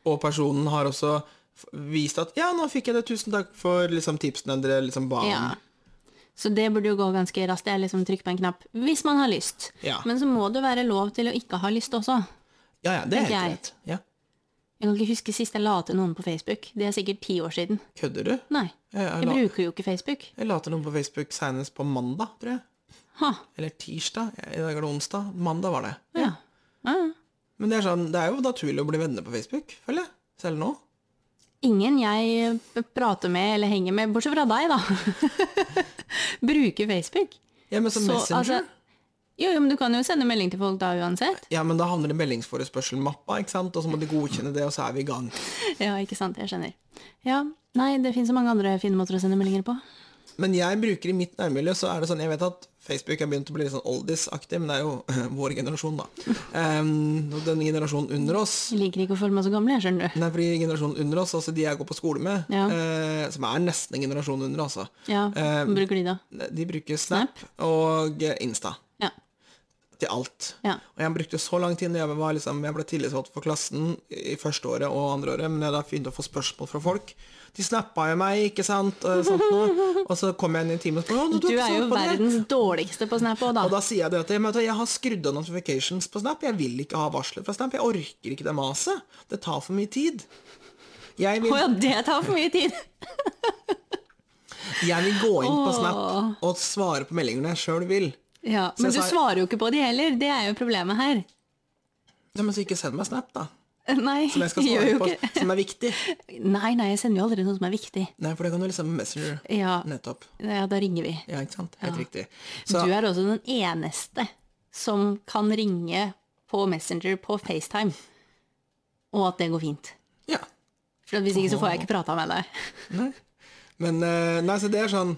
Speaker 1: Og personen har også f- vist at ja, nå fikk jeg det, tusen takk for liksom, tipsene dere liksom ba om.
Speaker 2: Ja. Så det burde jo gå ganske raskt. Det er liksom trykk på en knapp hvis man har lyst.
Speaker 1: Ja.
Speaker 2: Men så må det være lov til å ikke ha lyst også.
Speaker 1: ja, ja, det er helt
Speaker 2: Tenker jeg.
Speaker 1: greit. Ja.
Speaker 2: Jeg kan ikke huske sist jeg la til noen på Facebook. Det er sikkert ti år siden.
Speaker 1: Kødder du?
Speaker 2: Nei.
Speaker 1: Jeg, jeg,
Speaker 2: Jeg
Speaker 1: la,
Speaker 2: bruker jo ikke Facebook.
Speaker 1: jeg la til noen på Facebook senest på mandag, tror jeg.
Speaker 2: Ha.
Speaker 1: Eller tirsdag. I dag er det onsdag. Mandag var det.
Speaker 2: Ja. Ja.
Speaker 1: Men det er, sånn, det er jo naturlig å bli venner på Facebook, føler jeg. Selv nå.
Speaker 2: Ingen jeg prater med eller henger med, bortsett fra deg, da. Bruker Facebook.
Speaker 1: Ja, men som
Speaker 2: Så,
Speaker 1: Messenger.
Speaker 2: altså- Jo, jo, men du kan jo sende melding til folk da uansett.
Speaker 1: Ja, men da havner det i meldingsforespørselmappa, ikke sant? og så må de godkjenne det, og så er vi i gang.
Speaker 2: Ja, ikke sant. Jeg skjønner. Ja, nei, det fins så mange andre fine måter å sende meldinger på.
Speaker 1: Men jeg bruker i mitt nærmiljø, så er det sånn Jeg vet at Facebook er begynt å bli litt sånn oldies-aktig, men det er jo vår generasjon, da. Ehm, og den generasjonen under oss
Speaker 2: Jeg liker ikke å føle meg så gammel, jeg, skjønner du.
Speaker 1: Nei, fordi generasjonen under oss, altså de jeg går på skole med,
Speaker 2: Ja.
Speaker 1: eh, som er nesten en generasjon under, altså,
Speaker 2: Ja,
Speaker 1: Eh,
Speaker 2: Bruker de, da?
Speaker 1: de bruker Snap, og Insta
Speaker 2: Ja.
Speaker 1: til alt.
Speaker 2: ja.
Speaker 1: Og jeg brukte så lang tid da jeg, var, liksom, jeg ble tillitsvalgt for klassen i første året og andre året, men jeg da begynte å få spørsmål fra folk. De snappa jo meg, ikke sant? Og, sånt, noe. og så kom jeg inn i en time og spurte «Å,
Speaker 2: Du
Speaker 1: har ikke
Speaker 2: er jo
Speaker 1: svart på det?»
Speaker 2: verdens dårligste på Snap òg,
Speaker 1: Og
Speaker 2: da.
Speaker 1: da sier jeg det til dem, vet du, jeg har skrudd av notifications på Snap, jeg vil ikke ha varsler fra Snap, jeg orker ikke det maset. Det tar for mye tid. Jeg
Speaker 2: Å
Speaker 1: vil,
Speaker 2: ja, det tar for mye tid!
Speaker 1: jeg vil gå inn på
Speaker 2: Åh.
Speaker 1: Snap og svare på meldinger når jeg sjøl vil.
Speaker 2: Ja, Men du
Speaker 1: jeg sa-
Speaker 2: svarer jo ikke på de heller. Det er jo problemet her.
Speaker 1: Ja, men så ikke send meg Snap, da.
Speaker 2: Nei,
Speaker 1: Som jeg skal
Speaker 2: gjør
Speaker 1: svare
Speaker 2: jo
Speaker 1: på,
Speaker 2: ikke.
Speaker 1: som er viktig.
Speaker 2: Nei, nei, jeg sender jo aldri noe som er viktig.
Speaker 1: Nei, for det kan du liksom med Messenger.
Speaker 2: Ja,
Speaker 1: Nettopp.
Speaker 2: ja da ringer vi.
Speaker 1: Ja, ikke sant? Helt
Speaker 2: Ja.
Speaker 1: riktig. Så,
Speaker 2: Du er også den eneste som kan ringe på Messenger på FaceTime, og at det går fint.
Speaker 1: ja.
Speaker 2: For at Hvis ikke så får jeg ikke prata med deg.
Speaker 1: Nei. Men eh, nei, så det er sånn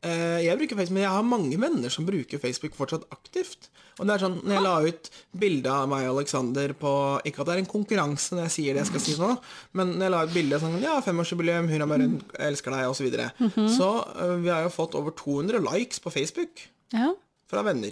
Speaker 1: Eh, Jeg bruker Facebook, men jeg har mange venner som bruker Facebook fortsatt aktivt. Og det er sånn, når jeg la ut bilde av meg og Alexander på Ikke at det er en konkurranse når jeg sier det jeg skal si nå, men når jeg la ut bilde sånn Ja, femårsjubileum, hurra meg rundt, jeg elsker deg, osv. Så, videre.
Speaker 2: Mhm.
Speaker 1: så eh, vi har jo fått over 200 likes på Facebook
Speaker 2: Ja.
Speaker 1: fra venner.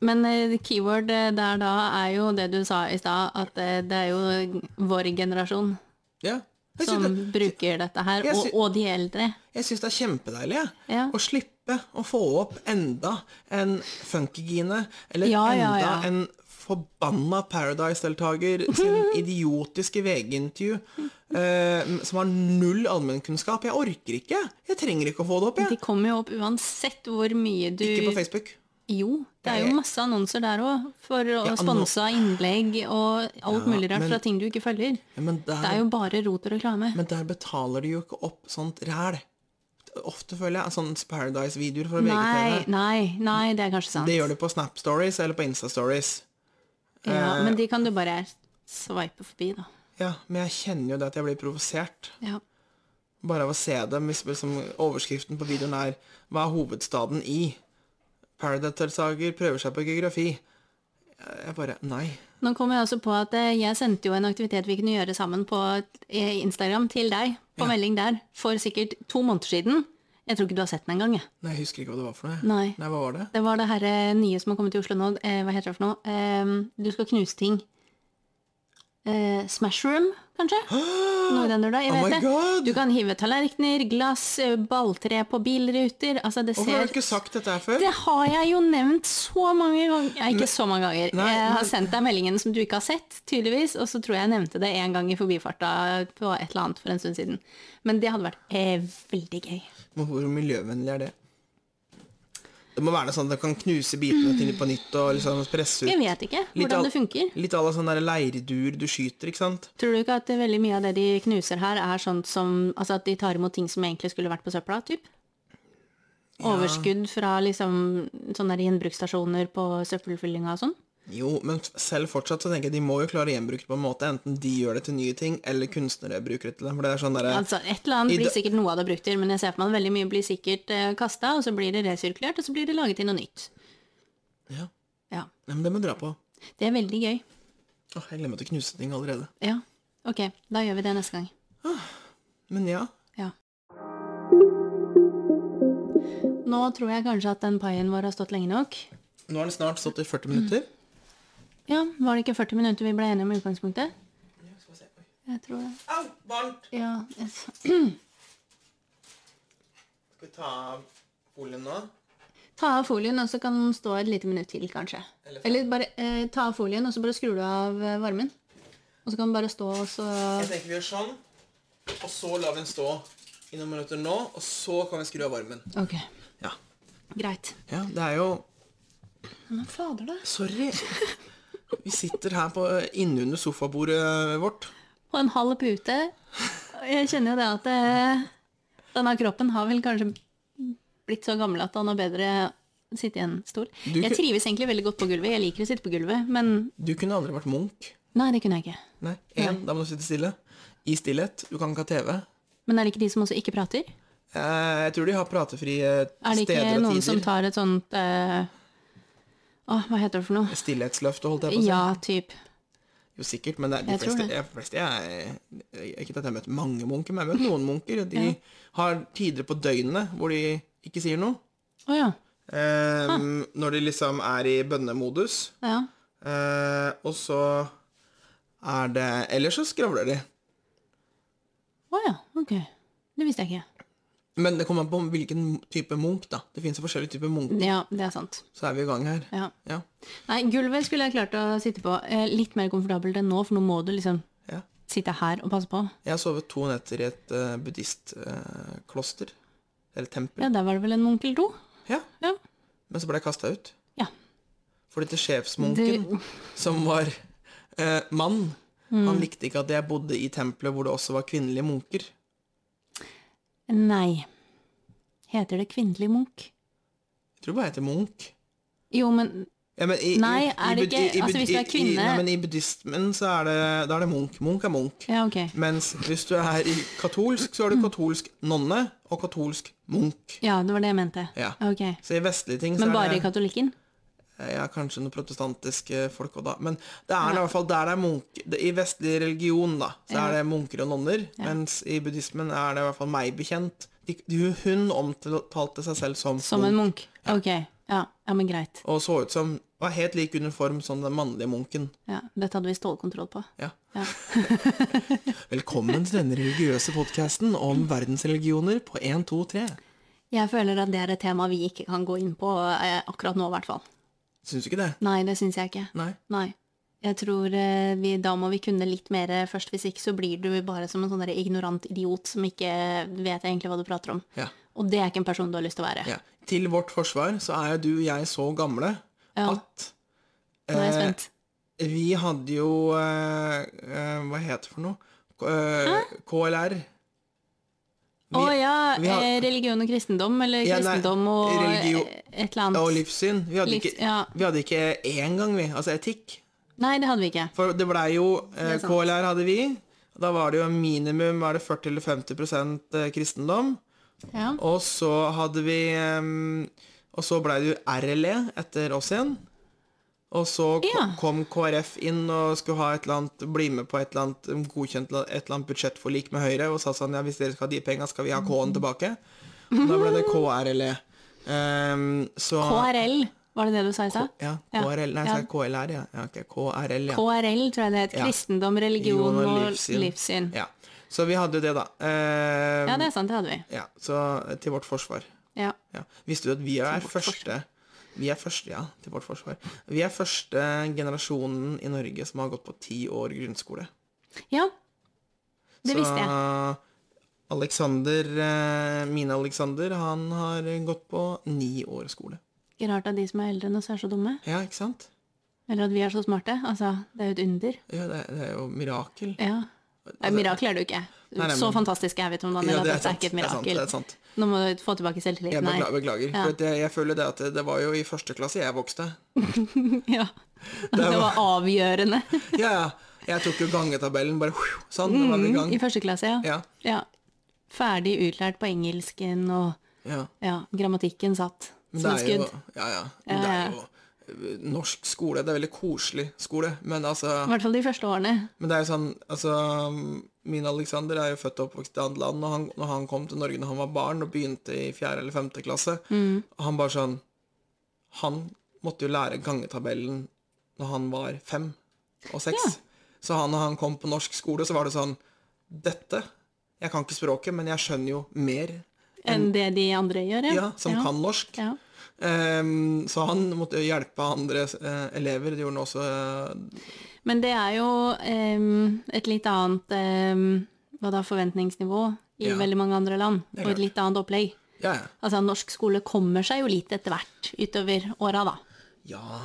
Speaker 2: Men eh, keyword eh, der da er jo det du sa i stad, at eh, det er jo vår generasjon
Speaker 1: Ja. Jeg
Speaker 2: som
Speaker 1: synes det-
Speaker 2: bruker dette her,
Speaker 1: Jeg
Speaker 2: og,
Speaker 1: sy-
Speaker 2: og de eldre.
Speaker 1: Jeg syns det er kjempedeilig jeg.
Speaker 2: Ja.
Speaker 1: å slippe å få opp enda en funkygine, eller
Speaker 2: Ja,
Speaker 1: enda
Speaker 2: ja, ja.
Speaker 1: en forbanna Paradise-deltaker sin idiotiske VG-intervju eh, som har null allmennkunnskap. Jeg orker ikke! Jeg trenger ikke å få det opp,
Speaker 2: De
Speaker 1: jeg.
Speaker 2: kommer jo opp uansett hvor mye du
Speaker 1: Ikke på Facebook.
Speaker 2: Jo, det er jo
Speaker 1: Jeg-
Speaker 2: masse annonser der òg, for å
Speaker 1: Ja,
Speaker 2: sponse innlegg og alt mulig rart
Speaker 1: men-
Speaker 2: fra ting du ikke følger.
Speaker 1: Ja, men,
Speaker 2: Det er
Speaker 1: der,
Speaker 2: jo bare rot og reklame.
Speaker 1: men der betaler de jo ikke opp sånt ræl. Ofte føler jeg sånne Paradise-videoer fra
Speaker 2: Nei,
Speaker 1: VGTV.
Speaker 2: nei, nei, det er kanskje sant.
Speaker 1: Det gjør de på Snap Stories eller på Insta Stories.
Speaker 2: Ja, men
Speaker 1: Eh,
Speaker 2: de kan du bare sveipe forbi, da.
Speaker 1: Ja, men jeg kjenner jo det at jeg blir provosert.
Speaker 2: Ja.
Speaker 1: Bare av å se dem, hvis liksom, overskriften på videoen er Hva er hovedstaden i? Paradise-deltaker prøver seg på geografi. Jeg bare Nei.
Speaker 2: Nå kom jeg også på at eh, jeg sendte jo en aktivitet vi kunne gjøre sammen på eh, Instagram til deg, på melding der, for sikkert to måneder siden. Jeg tror ikke du har sett den engang, jeg.
Speaker 1: Nei, Jeg husker ikke hva det var for noe.
Speaker 2: Nei.
Speaker 1: Nei, hva var det?
Speaker 2: Det var det herre nye som har kommet til Oslo nå, eh, hva heter det for noe? Eh, du skal knuse ting. Eh, Smashroom, kanskje? Noe i den døra, jeg
Speaker 1: Oh my
Speaker 2: vet det.
Speaker 1: god!
Speaker 2: Du kan hive tallerkener, glass, eh, balltre på bilruter, altså det
Speaker 1: Hvorfor har
Speaker 2: ser...
Speaker 1: du ikke sagt dette her før?
Speaker 2: Det har jeg jo nevnt så mange ganger. Ja, ikke så mange ganger.
Speaker 1: Nei,
Speaker 2: jeg har
Speaker 1: men-
Speaker 2: sendt deg meldingen som du ikke har sett, tydeligvis, og så tror jeg jeg nevnte det en gang i forbifarta på et eller annet for en stund siden. Men det hadde vært eh, veldig gøy.
Speaker 1: Men Hvor miljøvennlig er det? Det må være noe sånn at du kan knuse bitene til de på nytt og liksom presse ut
Speaker 2: Jeg vet ikke
Speaker 1: Litt av-
Speaker 2: hvordan det funker.
Speaker 1: Litt à la sånn der leirduer du skyter, ikke sant?
Speaker 2: Tror du ikke at veldig mye av det de knuser her, er sånt som Altså at de tar imot ting som egentlig skulle vært på søpla, typ? Overskudd fra liksom sånne der gjenbruksstasjoner på søppelfyllinga og sånn?
Speaker 1: Jo, men f- selv fortsatt så tenker jeg de må jo klare å gjenbruke det på en måte. Enten de gjør det til nye ting, eller kunstnere bruker det til dem. For det er sånn derre
Speaker 2: Altså, et eller annet
Speaker 1: I
Speaker 2: blir
Speaker 1: da-
Speaker 2: sikkert noe av det brukt til, men jeg ser for meg at veldig mye blir sikkert uh, kasta, og så blir det resirkulert, og så blir det laget til noe nytt.
Speaker 1: ja.
Speaker 2: Ja.
Speaker 1: Nei, men det må vi dra på.
Speaker 2: Det er veldig gøy.
Speaker 1: Åh, jeg glemmer til å knuse ting allerede.
Speaker 2: Ja. Ok, da gjør vi det neste gang.
Speaker 1: Men ja.
Speaker 2: Ja. Nå tror jeg kanskje at den paien vår har stått lenge nok.
Speaker 1: Nå har den snart stått i 40 minutter.
Speaker 2: Ja, var det ikke 40 minutter vi ble enige om i utgangspunktet?
Speaker 1: Skal vi se. Oi.
Speaker 2: Jeg tror det.
Speaker 1: Au, varmt!
Speaker 2: Ja, jeg s-
Speaker 1: Skal vi ta av folien nå?
Speaker 2: Ta av folien, og så kan den stå et lite minutt til, kanskje.
Speaker 1: Eller fem.
Speaker 2: Eller bare eh, ta av folien, og så bare skrur du av eh, varmen. Og så kan den bare stå, og så
Speaker 1: Jeg tenker vi gjør sånn, og så lar vi den stå i noen minutter nå, og så kan vi skru av varmen.
Speaker 2: Ok,
Speaker 1: Ja.
Speaker 2: greit.
Speaker 1: ja det er jo
Speaker 2: Men fader, da.
Speaker 1: Sorry. Vi sitter her på innunder sofabordet vårt.
Speaker 2: På en halv pute. Jeg kjenner jo det at eh, denne kroppen har vel kanskje blitt så gammel at han har bedre sitte i en stol.
Speaker 1: Du
Speaker 2: jeg
Speaker 1: ku-
Speaker 2: trives egentlig veldig godt på gulvet. Jeg liker å sitte på gulvet, men
Speaker 1: Du kunne aldri vært Munch.
Speaker 2: nei, det kunne jeg ikke.
Speaker 1: Nei, en, da må du sitte stille. I stillhet. Du kan ikke ha TV.
Speaker 2: Men er det ikke de som også ikke prater?
Speaker 1: Eh, Jeg tror de har pratefrie
Speaker 2: Er det ikke
Speaker 1: steder og
Speaker 2: noen
Speaker 1: tider.
Speaker 2: som tar et sånt eh, Åh, hva heter det for noe?
Speaker 1: Stillhetsløft og holdt jeg på å si.
Speaker 2: Ja, typ.
Speaker 1: Jo, sikkert, men det er de
Speaker 2: Jeg tror
Speaker 1: fleste,
Speaker 2: det.
Speaker 1: jeg, fleste jeg, jeg, Ikke at jeg har møtt mange munker, men jeg har møtt noen munker. De har tider på døgnet hvor de ikke sier noe.
Speaker 2: Å ja.
Speaker 1: Ehm, når de liksom er i bønnemodus.
Speaker 2: ja.
Speaker 1: Eh, og så er det Ellers så skravler de.
Speaker 2: Å ja, ok. Det visste jeg ikke.
Speaker 1: Men det kommer an på hvilken type munk, da. Det fins forskjellige typer munker.
Speaker 2: Ja, det er sant.
Speaker 1: Så er vi i gang her.
Speaker 2: Ja.
Speaker 1: Ja.
Speaker 2: Nei, gulvet skulle jeg klart å sitte på eh, litt mer komfortabelt enn nå, for nå må du liksom
Speaker 1: ja.
Speaker 2: sitte her og passe på.
Speaker 1: Jeg har sovet to netter i et eh, buddhistkloster. eller tempel.
Speaker 2: Ja, der var det vel en munk eller to?
Speaker 1: Ja.
Speaker 2: Ja.
Speaker 1: Men så ble jeg kasta ut.
Speaker 2: ja.
Speaker 1: Fordi til sjefsmunken, som var eh, mann,
Speaker 2: Mm.
Speaker 1: han likte ikke at jeg bodde i tempelet hvor det også var kvinnelige munker.
Speaker 2: Nei. Heter det kvinnelig munk?
Speaker 1: Jeg tror bare jeg heter Munch.
Speaker 2: Jo, men
Speaker 1: Ja, men i,
Speaker 2: Nei, er det
Speaker 1: bud-
Speaker 2: ikke- altså,
Speaker 1: bud-
Speaker 2: hvis du er kvinne-
Speaker 1: nei, men I buddhismen så er det, da er det munk. Munk er munk.
Speaker 2: Ja, ok.
Speaker 1: Mens hvis du er i katolsk, så er
Speaker 2: Mm.
Speaker 1: du katolsk nonne og katolsk munk.
Speaker 2: Ja, det var det jeg mente.
Speaker 1: Ja.
Speaker 2: Ok.
Speaker 1: Så i vestlige ting så
Speaker 2: Men
Speaker 1: er
Speaker 2: bare i
Speaker 1: det
Speaker 2: katolikken?
Speaker 1: ja, Eh, kanskje noen protestantiske folk også da. Men det er i hvert fall der det er munk det, I vestlig religion da, så er det munker og nonner. Mens i buddhismen er det i hvert fall meg bekjent. De, de- hun omtalte seg selv som,
Speaker 2: Som en munk? Ok. Ja, ja men greit.
Speaker 1: og så ut som var helt lik uniform som den mannlige munken.
Speaker 2: Ja, dette hadde vi stålkontroll på.
Speaker 1: Ja.
Speaker 2: Ja.
Speaker 1: Velkommen til denne religiøse podkasten om verdensreligioner på 1, 2, 3.
Speaker 2: Jeg føler at det er et tema vi ikke kan gå inn på eh, akkurat nå, i hvert fall.
Speaker 1: Syns du ikke det?
Speaker 2: Nei, det syns jeg ikke.
Speaker 1: Nei.
Speaker 2: Nei. Jeg tror eh, vi, da må vi kunne litt mer eh, først, hvis ikke så blir du bare som en sånn der ignorant idiot som ikke vet egentlig hva du prater om.
Speaker 1: Ja.
Speaker 2: Og det er ikke en person du har lyst til å være.
Speaker 1: ja. Til vårt forsvar så er jo du og jeg så gamle
Speaker 2: Ja.
Speaker 1: at
Speaker 2: Nå er jeg
Speaker 1: eh,
Speaker 2: spent.
Speaker 1: Vi hadde jo eh, eh, Hva heter det for noe? K- eh, KLR. Vi,
Speaker 2: Å ja,
Speaker 1: vi har-
Speaker 2: eh, religion og kristendom, eller
Speaker 1: Ja, nei,
Speaker 2: kristendom og
Speaker 1: religio-
Speaker 2: eh, et eller annet.
Speaker 1: Og livssyn. Vi hadde,
Speaker 2: Livs-
Speaker 1: ikke,
Speaker 2: ja.
Speaker 1: vi hadde ikke én gang, vi. Altså etikk.
Speaker 2: Nei, det hadde vi ikke.
Speaker 1: For det blei jo eh,
Speaker 2: Det er sant.
Speaker 1: KLR hadde vi. Da var det jo minimum var det 40 eller 50 eh, kristendom.
Speaker 2: Ja.
Speaker 1: Og så hadde vi ehm, Og så blei det jo RLE etter oss igjen. Og så ko-
Speaker 2: Ja.
Speaker 1: kom KrF inn og skulle ha et eller annet, bli med på et eller annet godkjent la- et eller annet budsjettforlik med Høyre og sa sånn ja, hvis dere skal ha de penga, skal vi ha
Speaker 2: Mm.
Speaker 1: K-en tilbake. Og da ble det KRLE. Ehm, E. så
Speaker 2: KRL, var det det du sa i stad?
Speaker 1: Ja,
Speaker 2: E. Ja.
Speaker 1: KRL. E. Nei,
Speaker 2: Ja.
Speaker 1: sa jeg KLR, ja. ja ok, KRL, ja.
Speaker 2: KRL, tror jeg det het.
Speaker 1: Ja.
Speaker 2: Kristendom, religion
Speaker 1: Religion
Speaker 2: og livssyn.
Speaker 1: Ja. Så vi hadde jo det, da. Ehm,
Speaker 2: E. Ja, det er sant, det hadde vi.
Speaker 1: ja, så til vårt forsvar.
Speaker 2: Ja.
Speaker 1: Ja. Visste du at vi er
Speaker 2: vårt
Speaker 1: første Vi er første, ja, til vårt forsvar. Vi er første generasjonen i Norge som har gått på ti år grunnskole.
Speaker 2: ja. Det
Speaker 1: Så
Speaker 2: visste jeg.
Speaker 1: Alexander, eh, mine Alexander, han har gått på ni år skole.
Speaker 2: Ikke rart at de som er eldre enn oss, er så dumme.
Speaker 1: Ja, ikke sant?
Speaker 2: Eller at vi er så smarte. Altså, det er jo et under.
Speaker 1: Ja, det, det er jo mirakel.
Speaker 2: Ja. Nei, mirakel er det jo ikke.
Speaker 1: Altså, Nei, nei,
Speaker 2: så
Speaker 1: men-
Speaker 2: fantastisk er vi, Tom Daniel,
Speaker 1: Ja,
Speaker 2: at dette er ikke et
Speaker 1: Det er sant.
Speaker 2: mirakel.
Speaker 1: Det er sant.
Speaker 2: Nå må du få tilbake
Speaker 1: Jeg
Speaker 2: selvtilliten. Nei.
Speaker 1: beklager. beklager
Speaker 2: Ja.
Speaker 1: for at jeg, jeg føler det at det, det var jo i første klasse jeg vokste.
Speaker 2: Ja. Det var avgjørende
Speaker 1: Ja, ja. Jeg tok jo gangetabellen, bare sånn, da var vi i gang.
Speaker 2: i første klasse, ja.
Speaker 1: Ja,
Speaker 2: ja. Ferdig utlært på engelsken og
Speaker 1: ja.
Speaker 2: ja, grammatikken satt
Speaker 1: Men
Speaker 2: som
Speaker 1: det
Speaker 2: et
Speaker 1: er jo,
Speaker 2: skudd.
Speaker 1: ja, ja. Men
Speaker 2: Ja,
Speaker 1: Det er jo eh, norsk skole. Det er veldig koselig skole. Men altså
Speaker 2: I hvert fall de første årene.
Speaker 1: Men det er jo sånn Altså, min Alexander er jo født og oppvokst i annet land, og han, når han kom til Norge når han var barn og begynte i fjerde eller femte klasse,
Speaker 2: Mm.
Speaker 1: og han bare sånn Han måtte jo lære gangetabellen når han var fem og seks. Så han, når han kom på norsk skole, så var det sånn Dette Jeg kan ikke språket, men jeg skjønner jo mer,
Speaker 2: Enn det de andre gjør,
Speaker 1: ja, som kan norsk.
Speaker 2: Ja.
Speaker 1: Ehm, så han måtte jo hjelpe andre eh, elever. Det gjorde han også eh,
Speaker 2: Men det er jo em, et litt annet em, hva da, forventningsnivå i
Speaker 1: Ja.
Speaker 2: veldig mange andre land,
Speaker 1: er
Speaker 2: og
Speaker 1: klart.
Speaker 2: et litt annet opplegg.
Speaker 1: Ja, ja.
Speaker 2: Altså, norsk skole kommer seg jo litt etter hvert utover åra, da.
Speaker 1: ja.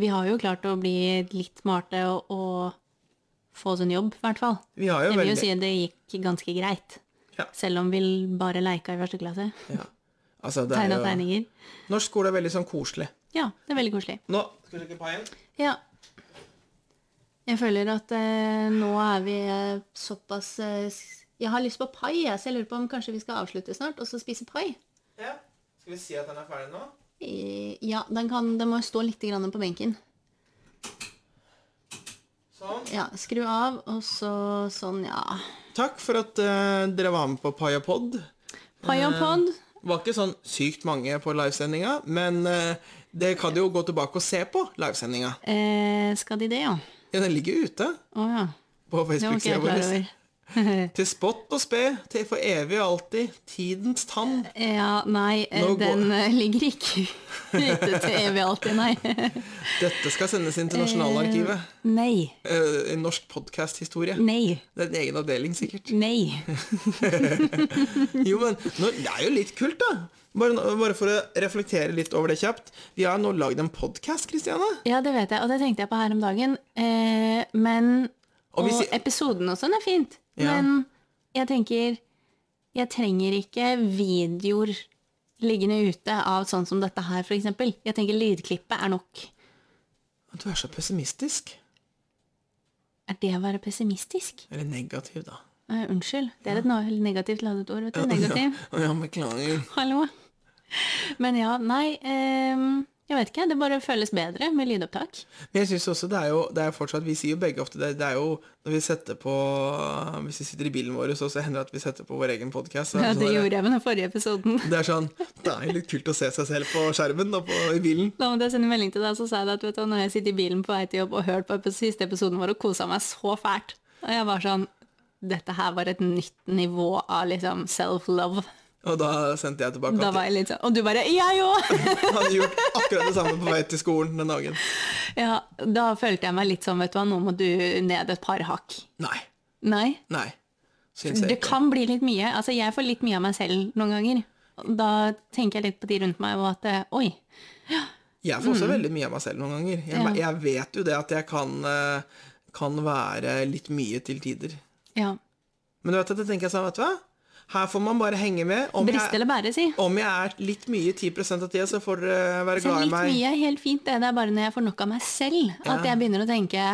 Speaker 2: Vi har jo klart å bli litt smarte og, og få oss en jobb, i hvert fall.
Speaker 1: Vi har jo
Speaker 2: Jeg vil
Speaker 1: veldig
Speaker 2: jo si det gikk ganske greit.
Speaker 1: Ja.
Speaker 2: Selv om vi bare leika i første klasse.
Speaker 1: ja. altså, det er
Speaker 2: Tegna
Speaker 1: jo,
Speaker 2: tegninger.
Speaker 1: Norsk skole er veldig sånn koselig.
Speaker 2: Ja, det er veldig koselig.
Speaker 1: Nå Skal vi sjekke paien?
Speaker 2: Ja. Jeg føler at eh, nå er vi eh, såpass eh, s- Jeg har lyst på pai, jeg, så jeg lurer på om kanskje vi skal avslutte snart, og så spise pai.
Speaker 1: Ja. Skal vi si at den er ferdig nå?
Speaker 2: Eh, Ja, den, kan, den må jo stå litt grann på benken.
Speaker 1: Sånn.
Speaker 2: Ja, Skru av, og så sånn, ja.
Speaker 1: Takk for at eh, dere var med på Pai og Pod.
Speaker 2: Pai og pod.
Speaker 1: Det var ikke sånn sykt mange på livesendinga, men eh, det kan jo gå tilbake og se på livesendinga.
Speaker 2: Eh, skal de det, ja?
Speaker 1: Ja, den ligger ute
Speaker 2: Å ja.
Speaker 1: på
Speaker 2: Det var ikke
Speaker 1: Facebook-sida
Speaker 2: jeg klar
Speaker 1: vår.
Speaker 2: over.
Speaker 1: Til spott og spe, til for evig og alltid, tidens tann.
Speaker 2: Ja, nei, eh,
Speaker 1: Nå går-
Speaker 2: den eh, ligger ikke ute til evig alltid, nei.
Speaker 1: Dette skal sendes inn til Nasjonalarkivet.
Speaker 2: Nei.
Speaker 1: Eh, en norsk podcast-historie.
Speaker 2: Nei.
Speaker 1: Det er en egen avdeling, sikkert.
Speaker 2: Nei.
Speaker 1: Jo, men nå, Det er jo litt kult, da. Bare, nå- bare for å reflektere litt over det kjapt. Vi har nå lagd en podkast, Kristiane.
Speaker 2: Ja, det vet jeg, og det tenkte jeg på her om dagen. Eh, men
Speaker 1: Og
Speaker 2: Og,
Speaker 1: vi sier-
Speaker 2: episoden og sånn er fint.
Speaker 1: Ja.
Speaker 2: Men jeg tenker Jeg trenger ikke videoer liggende ute av sånn som dette her, f.eks. Jeg tenker lydklippet er nok.
Speaker 1: Du er så pessimistisk.
Speaker 2: Er det å være pessimistisk?
Speaker 1: Eller negativ, da.
Speaker 2: Eh, unnskyld. Det er et no- negativt ladet ord. vet du. Negativ.
Speaker 1: Ja, ja, beklager.
Speaker 2: Hallo. Men ja, nei ehm, Jeg vet ikke. Det bare føles bedre med lydopptak.
Speaker 1: Men jeg synes også det er jo det er fortsatt Vi sier jo begge ofte det, det er jo når vi setter på Hvis vi sitter i bilen vår, så, så hender det at vi setter på vår egen podkast.
Speaker 2: Ja, det gjorde jeg med den forrige episoden.
Speaker 1: Det er sånn Det er jo litt kult å se seg selv på skjermen og på, i bilen.
Speaker 2: Da måtte jeg sende melding til deg, så sa jeg at vet du, hva, når jeg sitter i bilen på vei til jobb og hørt på epi- siste episoden vår og kosa meg så fælt, og jeg var sånn Dette her var et nytt nivå av liksom self-love.
Speaker 1: Og da sendte jeg tilbake
Speaker 2: Da
Speaker 1: at
Speaker 2: var jeg litt sånn Og du bare Jeg òg!
Speaker 1: jeg hadde gjort akkurat det samme på vei til skolen den dagen.
Speaker 2: Ja, da følte jeg meg litt sånn, vet du hva, nå må du ned et par hakk.
Speaker 1: Nei.
Speaker 2: Nei.
Speaker 1: Nei. Syns jeg
Speaker 2: Det
Speaker 1: ikke.
Speaker 2: kan bli litt mye. Altså, jeg får litt mye av meg selv noen ganger. Da tenker jeg litt på de rundt meg, og at eh, oi,
Speaker 1: Jeg får også veldig mye av meg selv noen ganger. Jeg,
Speaker 2: Mm. Ja.
Speaker 1: jeg vet jo det at jeg kan, eh, kan være litt mye til tider.
Speaker 2: ja.
Speaker 1: Men du vet at jeg tenker sånn, vet du hva? Her får man bare henge med. Om
Speaker 2: Briste
Speaker 1: jeg,
Speaker 2: eller bære, si.
Speaker 1: om jeg er litt mye 10 av tida, så får dere være
Speaker 2: Så
Speaker 1: glad i
Speaker 2: litt
Speaker 1: meg.
Speaker 2: mye er helt fint, det. Det er bare når jeg får nok av meg selv, at
Speaker 1: Ja.
Speaker 2: jeg begynner å tenke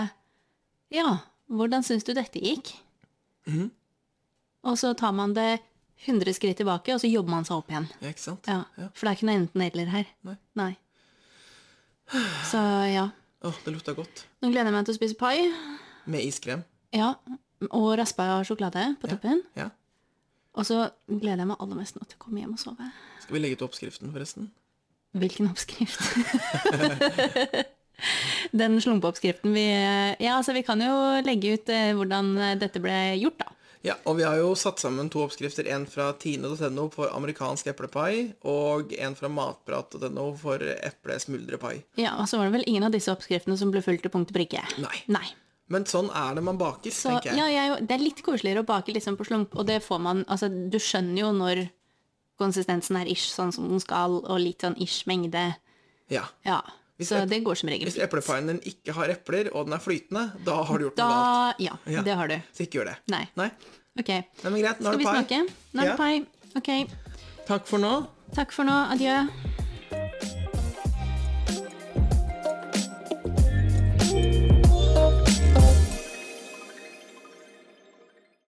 Speaker 2: Ja, hvordan syns du dette gikk?
Speaker 1: Mhm.
Speaker 2: Og så tar man det 100 skritt tilbake, og så jobber man seg opp igjen.
Speaker 1: Ja, ikke sant?
Speaker 2: Ja, For det er ikke noe enten-eller her.
Speaker 1: Nei.
Speaker 2: Så ja.
Speaker 1: Åh, det lukta godt.
Speaker 2: Nå gleder jeg meg til å spise pai.
Speaker 1: Med iskrem.
Speaker 2: Ja. Og raspa sjokolade på toppen.
Speaker 1: Ja.
Speaker 2: Og så gleder jeg meg aller mest nå til å komme hjem og sove.
Speaker 1: Skal vi legge ut oppskriften, forresten?
Speaker 2: Hvilken oppskrift? Den slumpeoppskriften vi Ja, altså vi kan jo legge ut eh, hvordan dette ble gjort, da.
Speaker 1: Ja, og vi har jo satt sammen to oppskrifter. En fra tine.no for amerikansk eplepai, og en fra matprat.no for eplesmuldrepai.
Speaker 2: Ja, Og så var det vel ingen av disse oppskriftene som ble fulgt til punkt og prikke.
Speaker 1: Nei.
Speaker 2: Nei.
Speaker 1: Men sånn er det man baker,
Speaker 2: Så
Speaker 1: tenker jeg.
Speaker 2: ja, jeg, det er litt koseligere å bake liksom på slump, og det får man Altså, du skjønner jo når konsistensen er ish sånn som den skal, og litt sånn ish mengde.
Speaker 1: Ja.
Speaker 2: Ja.
Speaker 1: Hvis
Speaker 2: Så
Speaker 1: eple-
Speaker 2: det går som regel
Speaker 1: Hvis
Speaker 2: fint.
Speaker 1: eplepaien din ikke har epler, og den er flytende, da har du gjort noe galt.
Speaker 2: Da Ja,
Speaker 1: Ja.
Speaker 2: det har du.
Speaker 1: Så ikke gjør det.
Speaker 2: Nei.
Speaker 1: Nei,
Speaker 2: Ok.
Speaker 1: Nei men greit. Nå
Speaker 2: Skal
Speaker 1: er
Speaker 2: vi
Speaker 1: det pai.
Speaker 2: snakke? Nå er det pai. Ok.
Speaker 1: Takk for nå.
Speaker 2: Takk for nå. Adjø.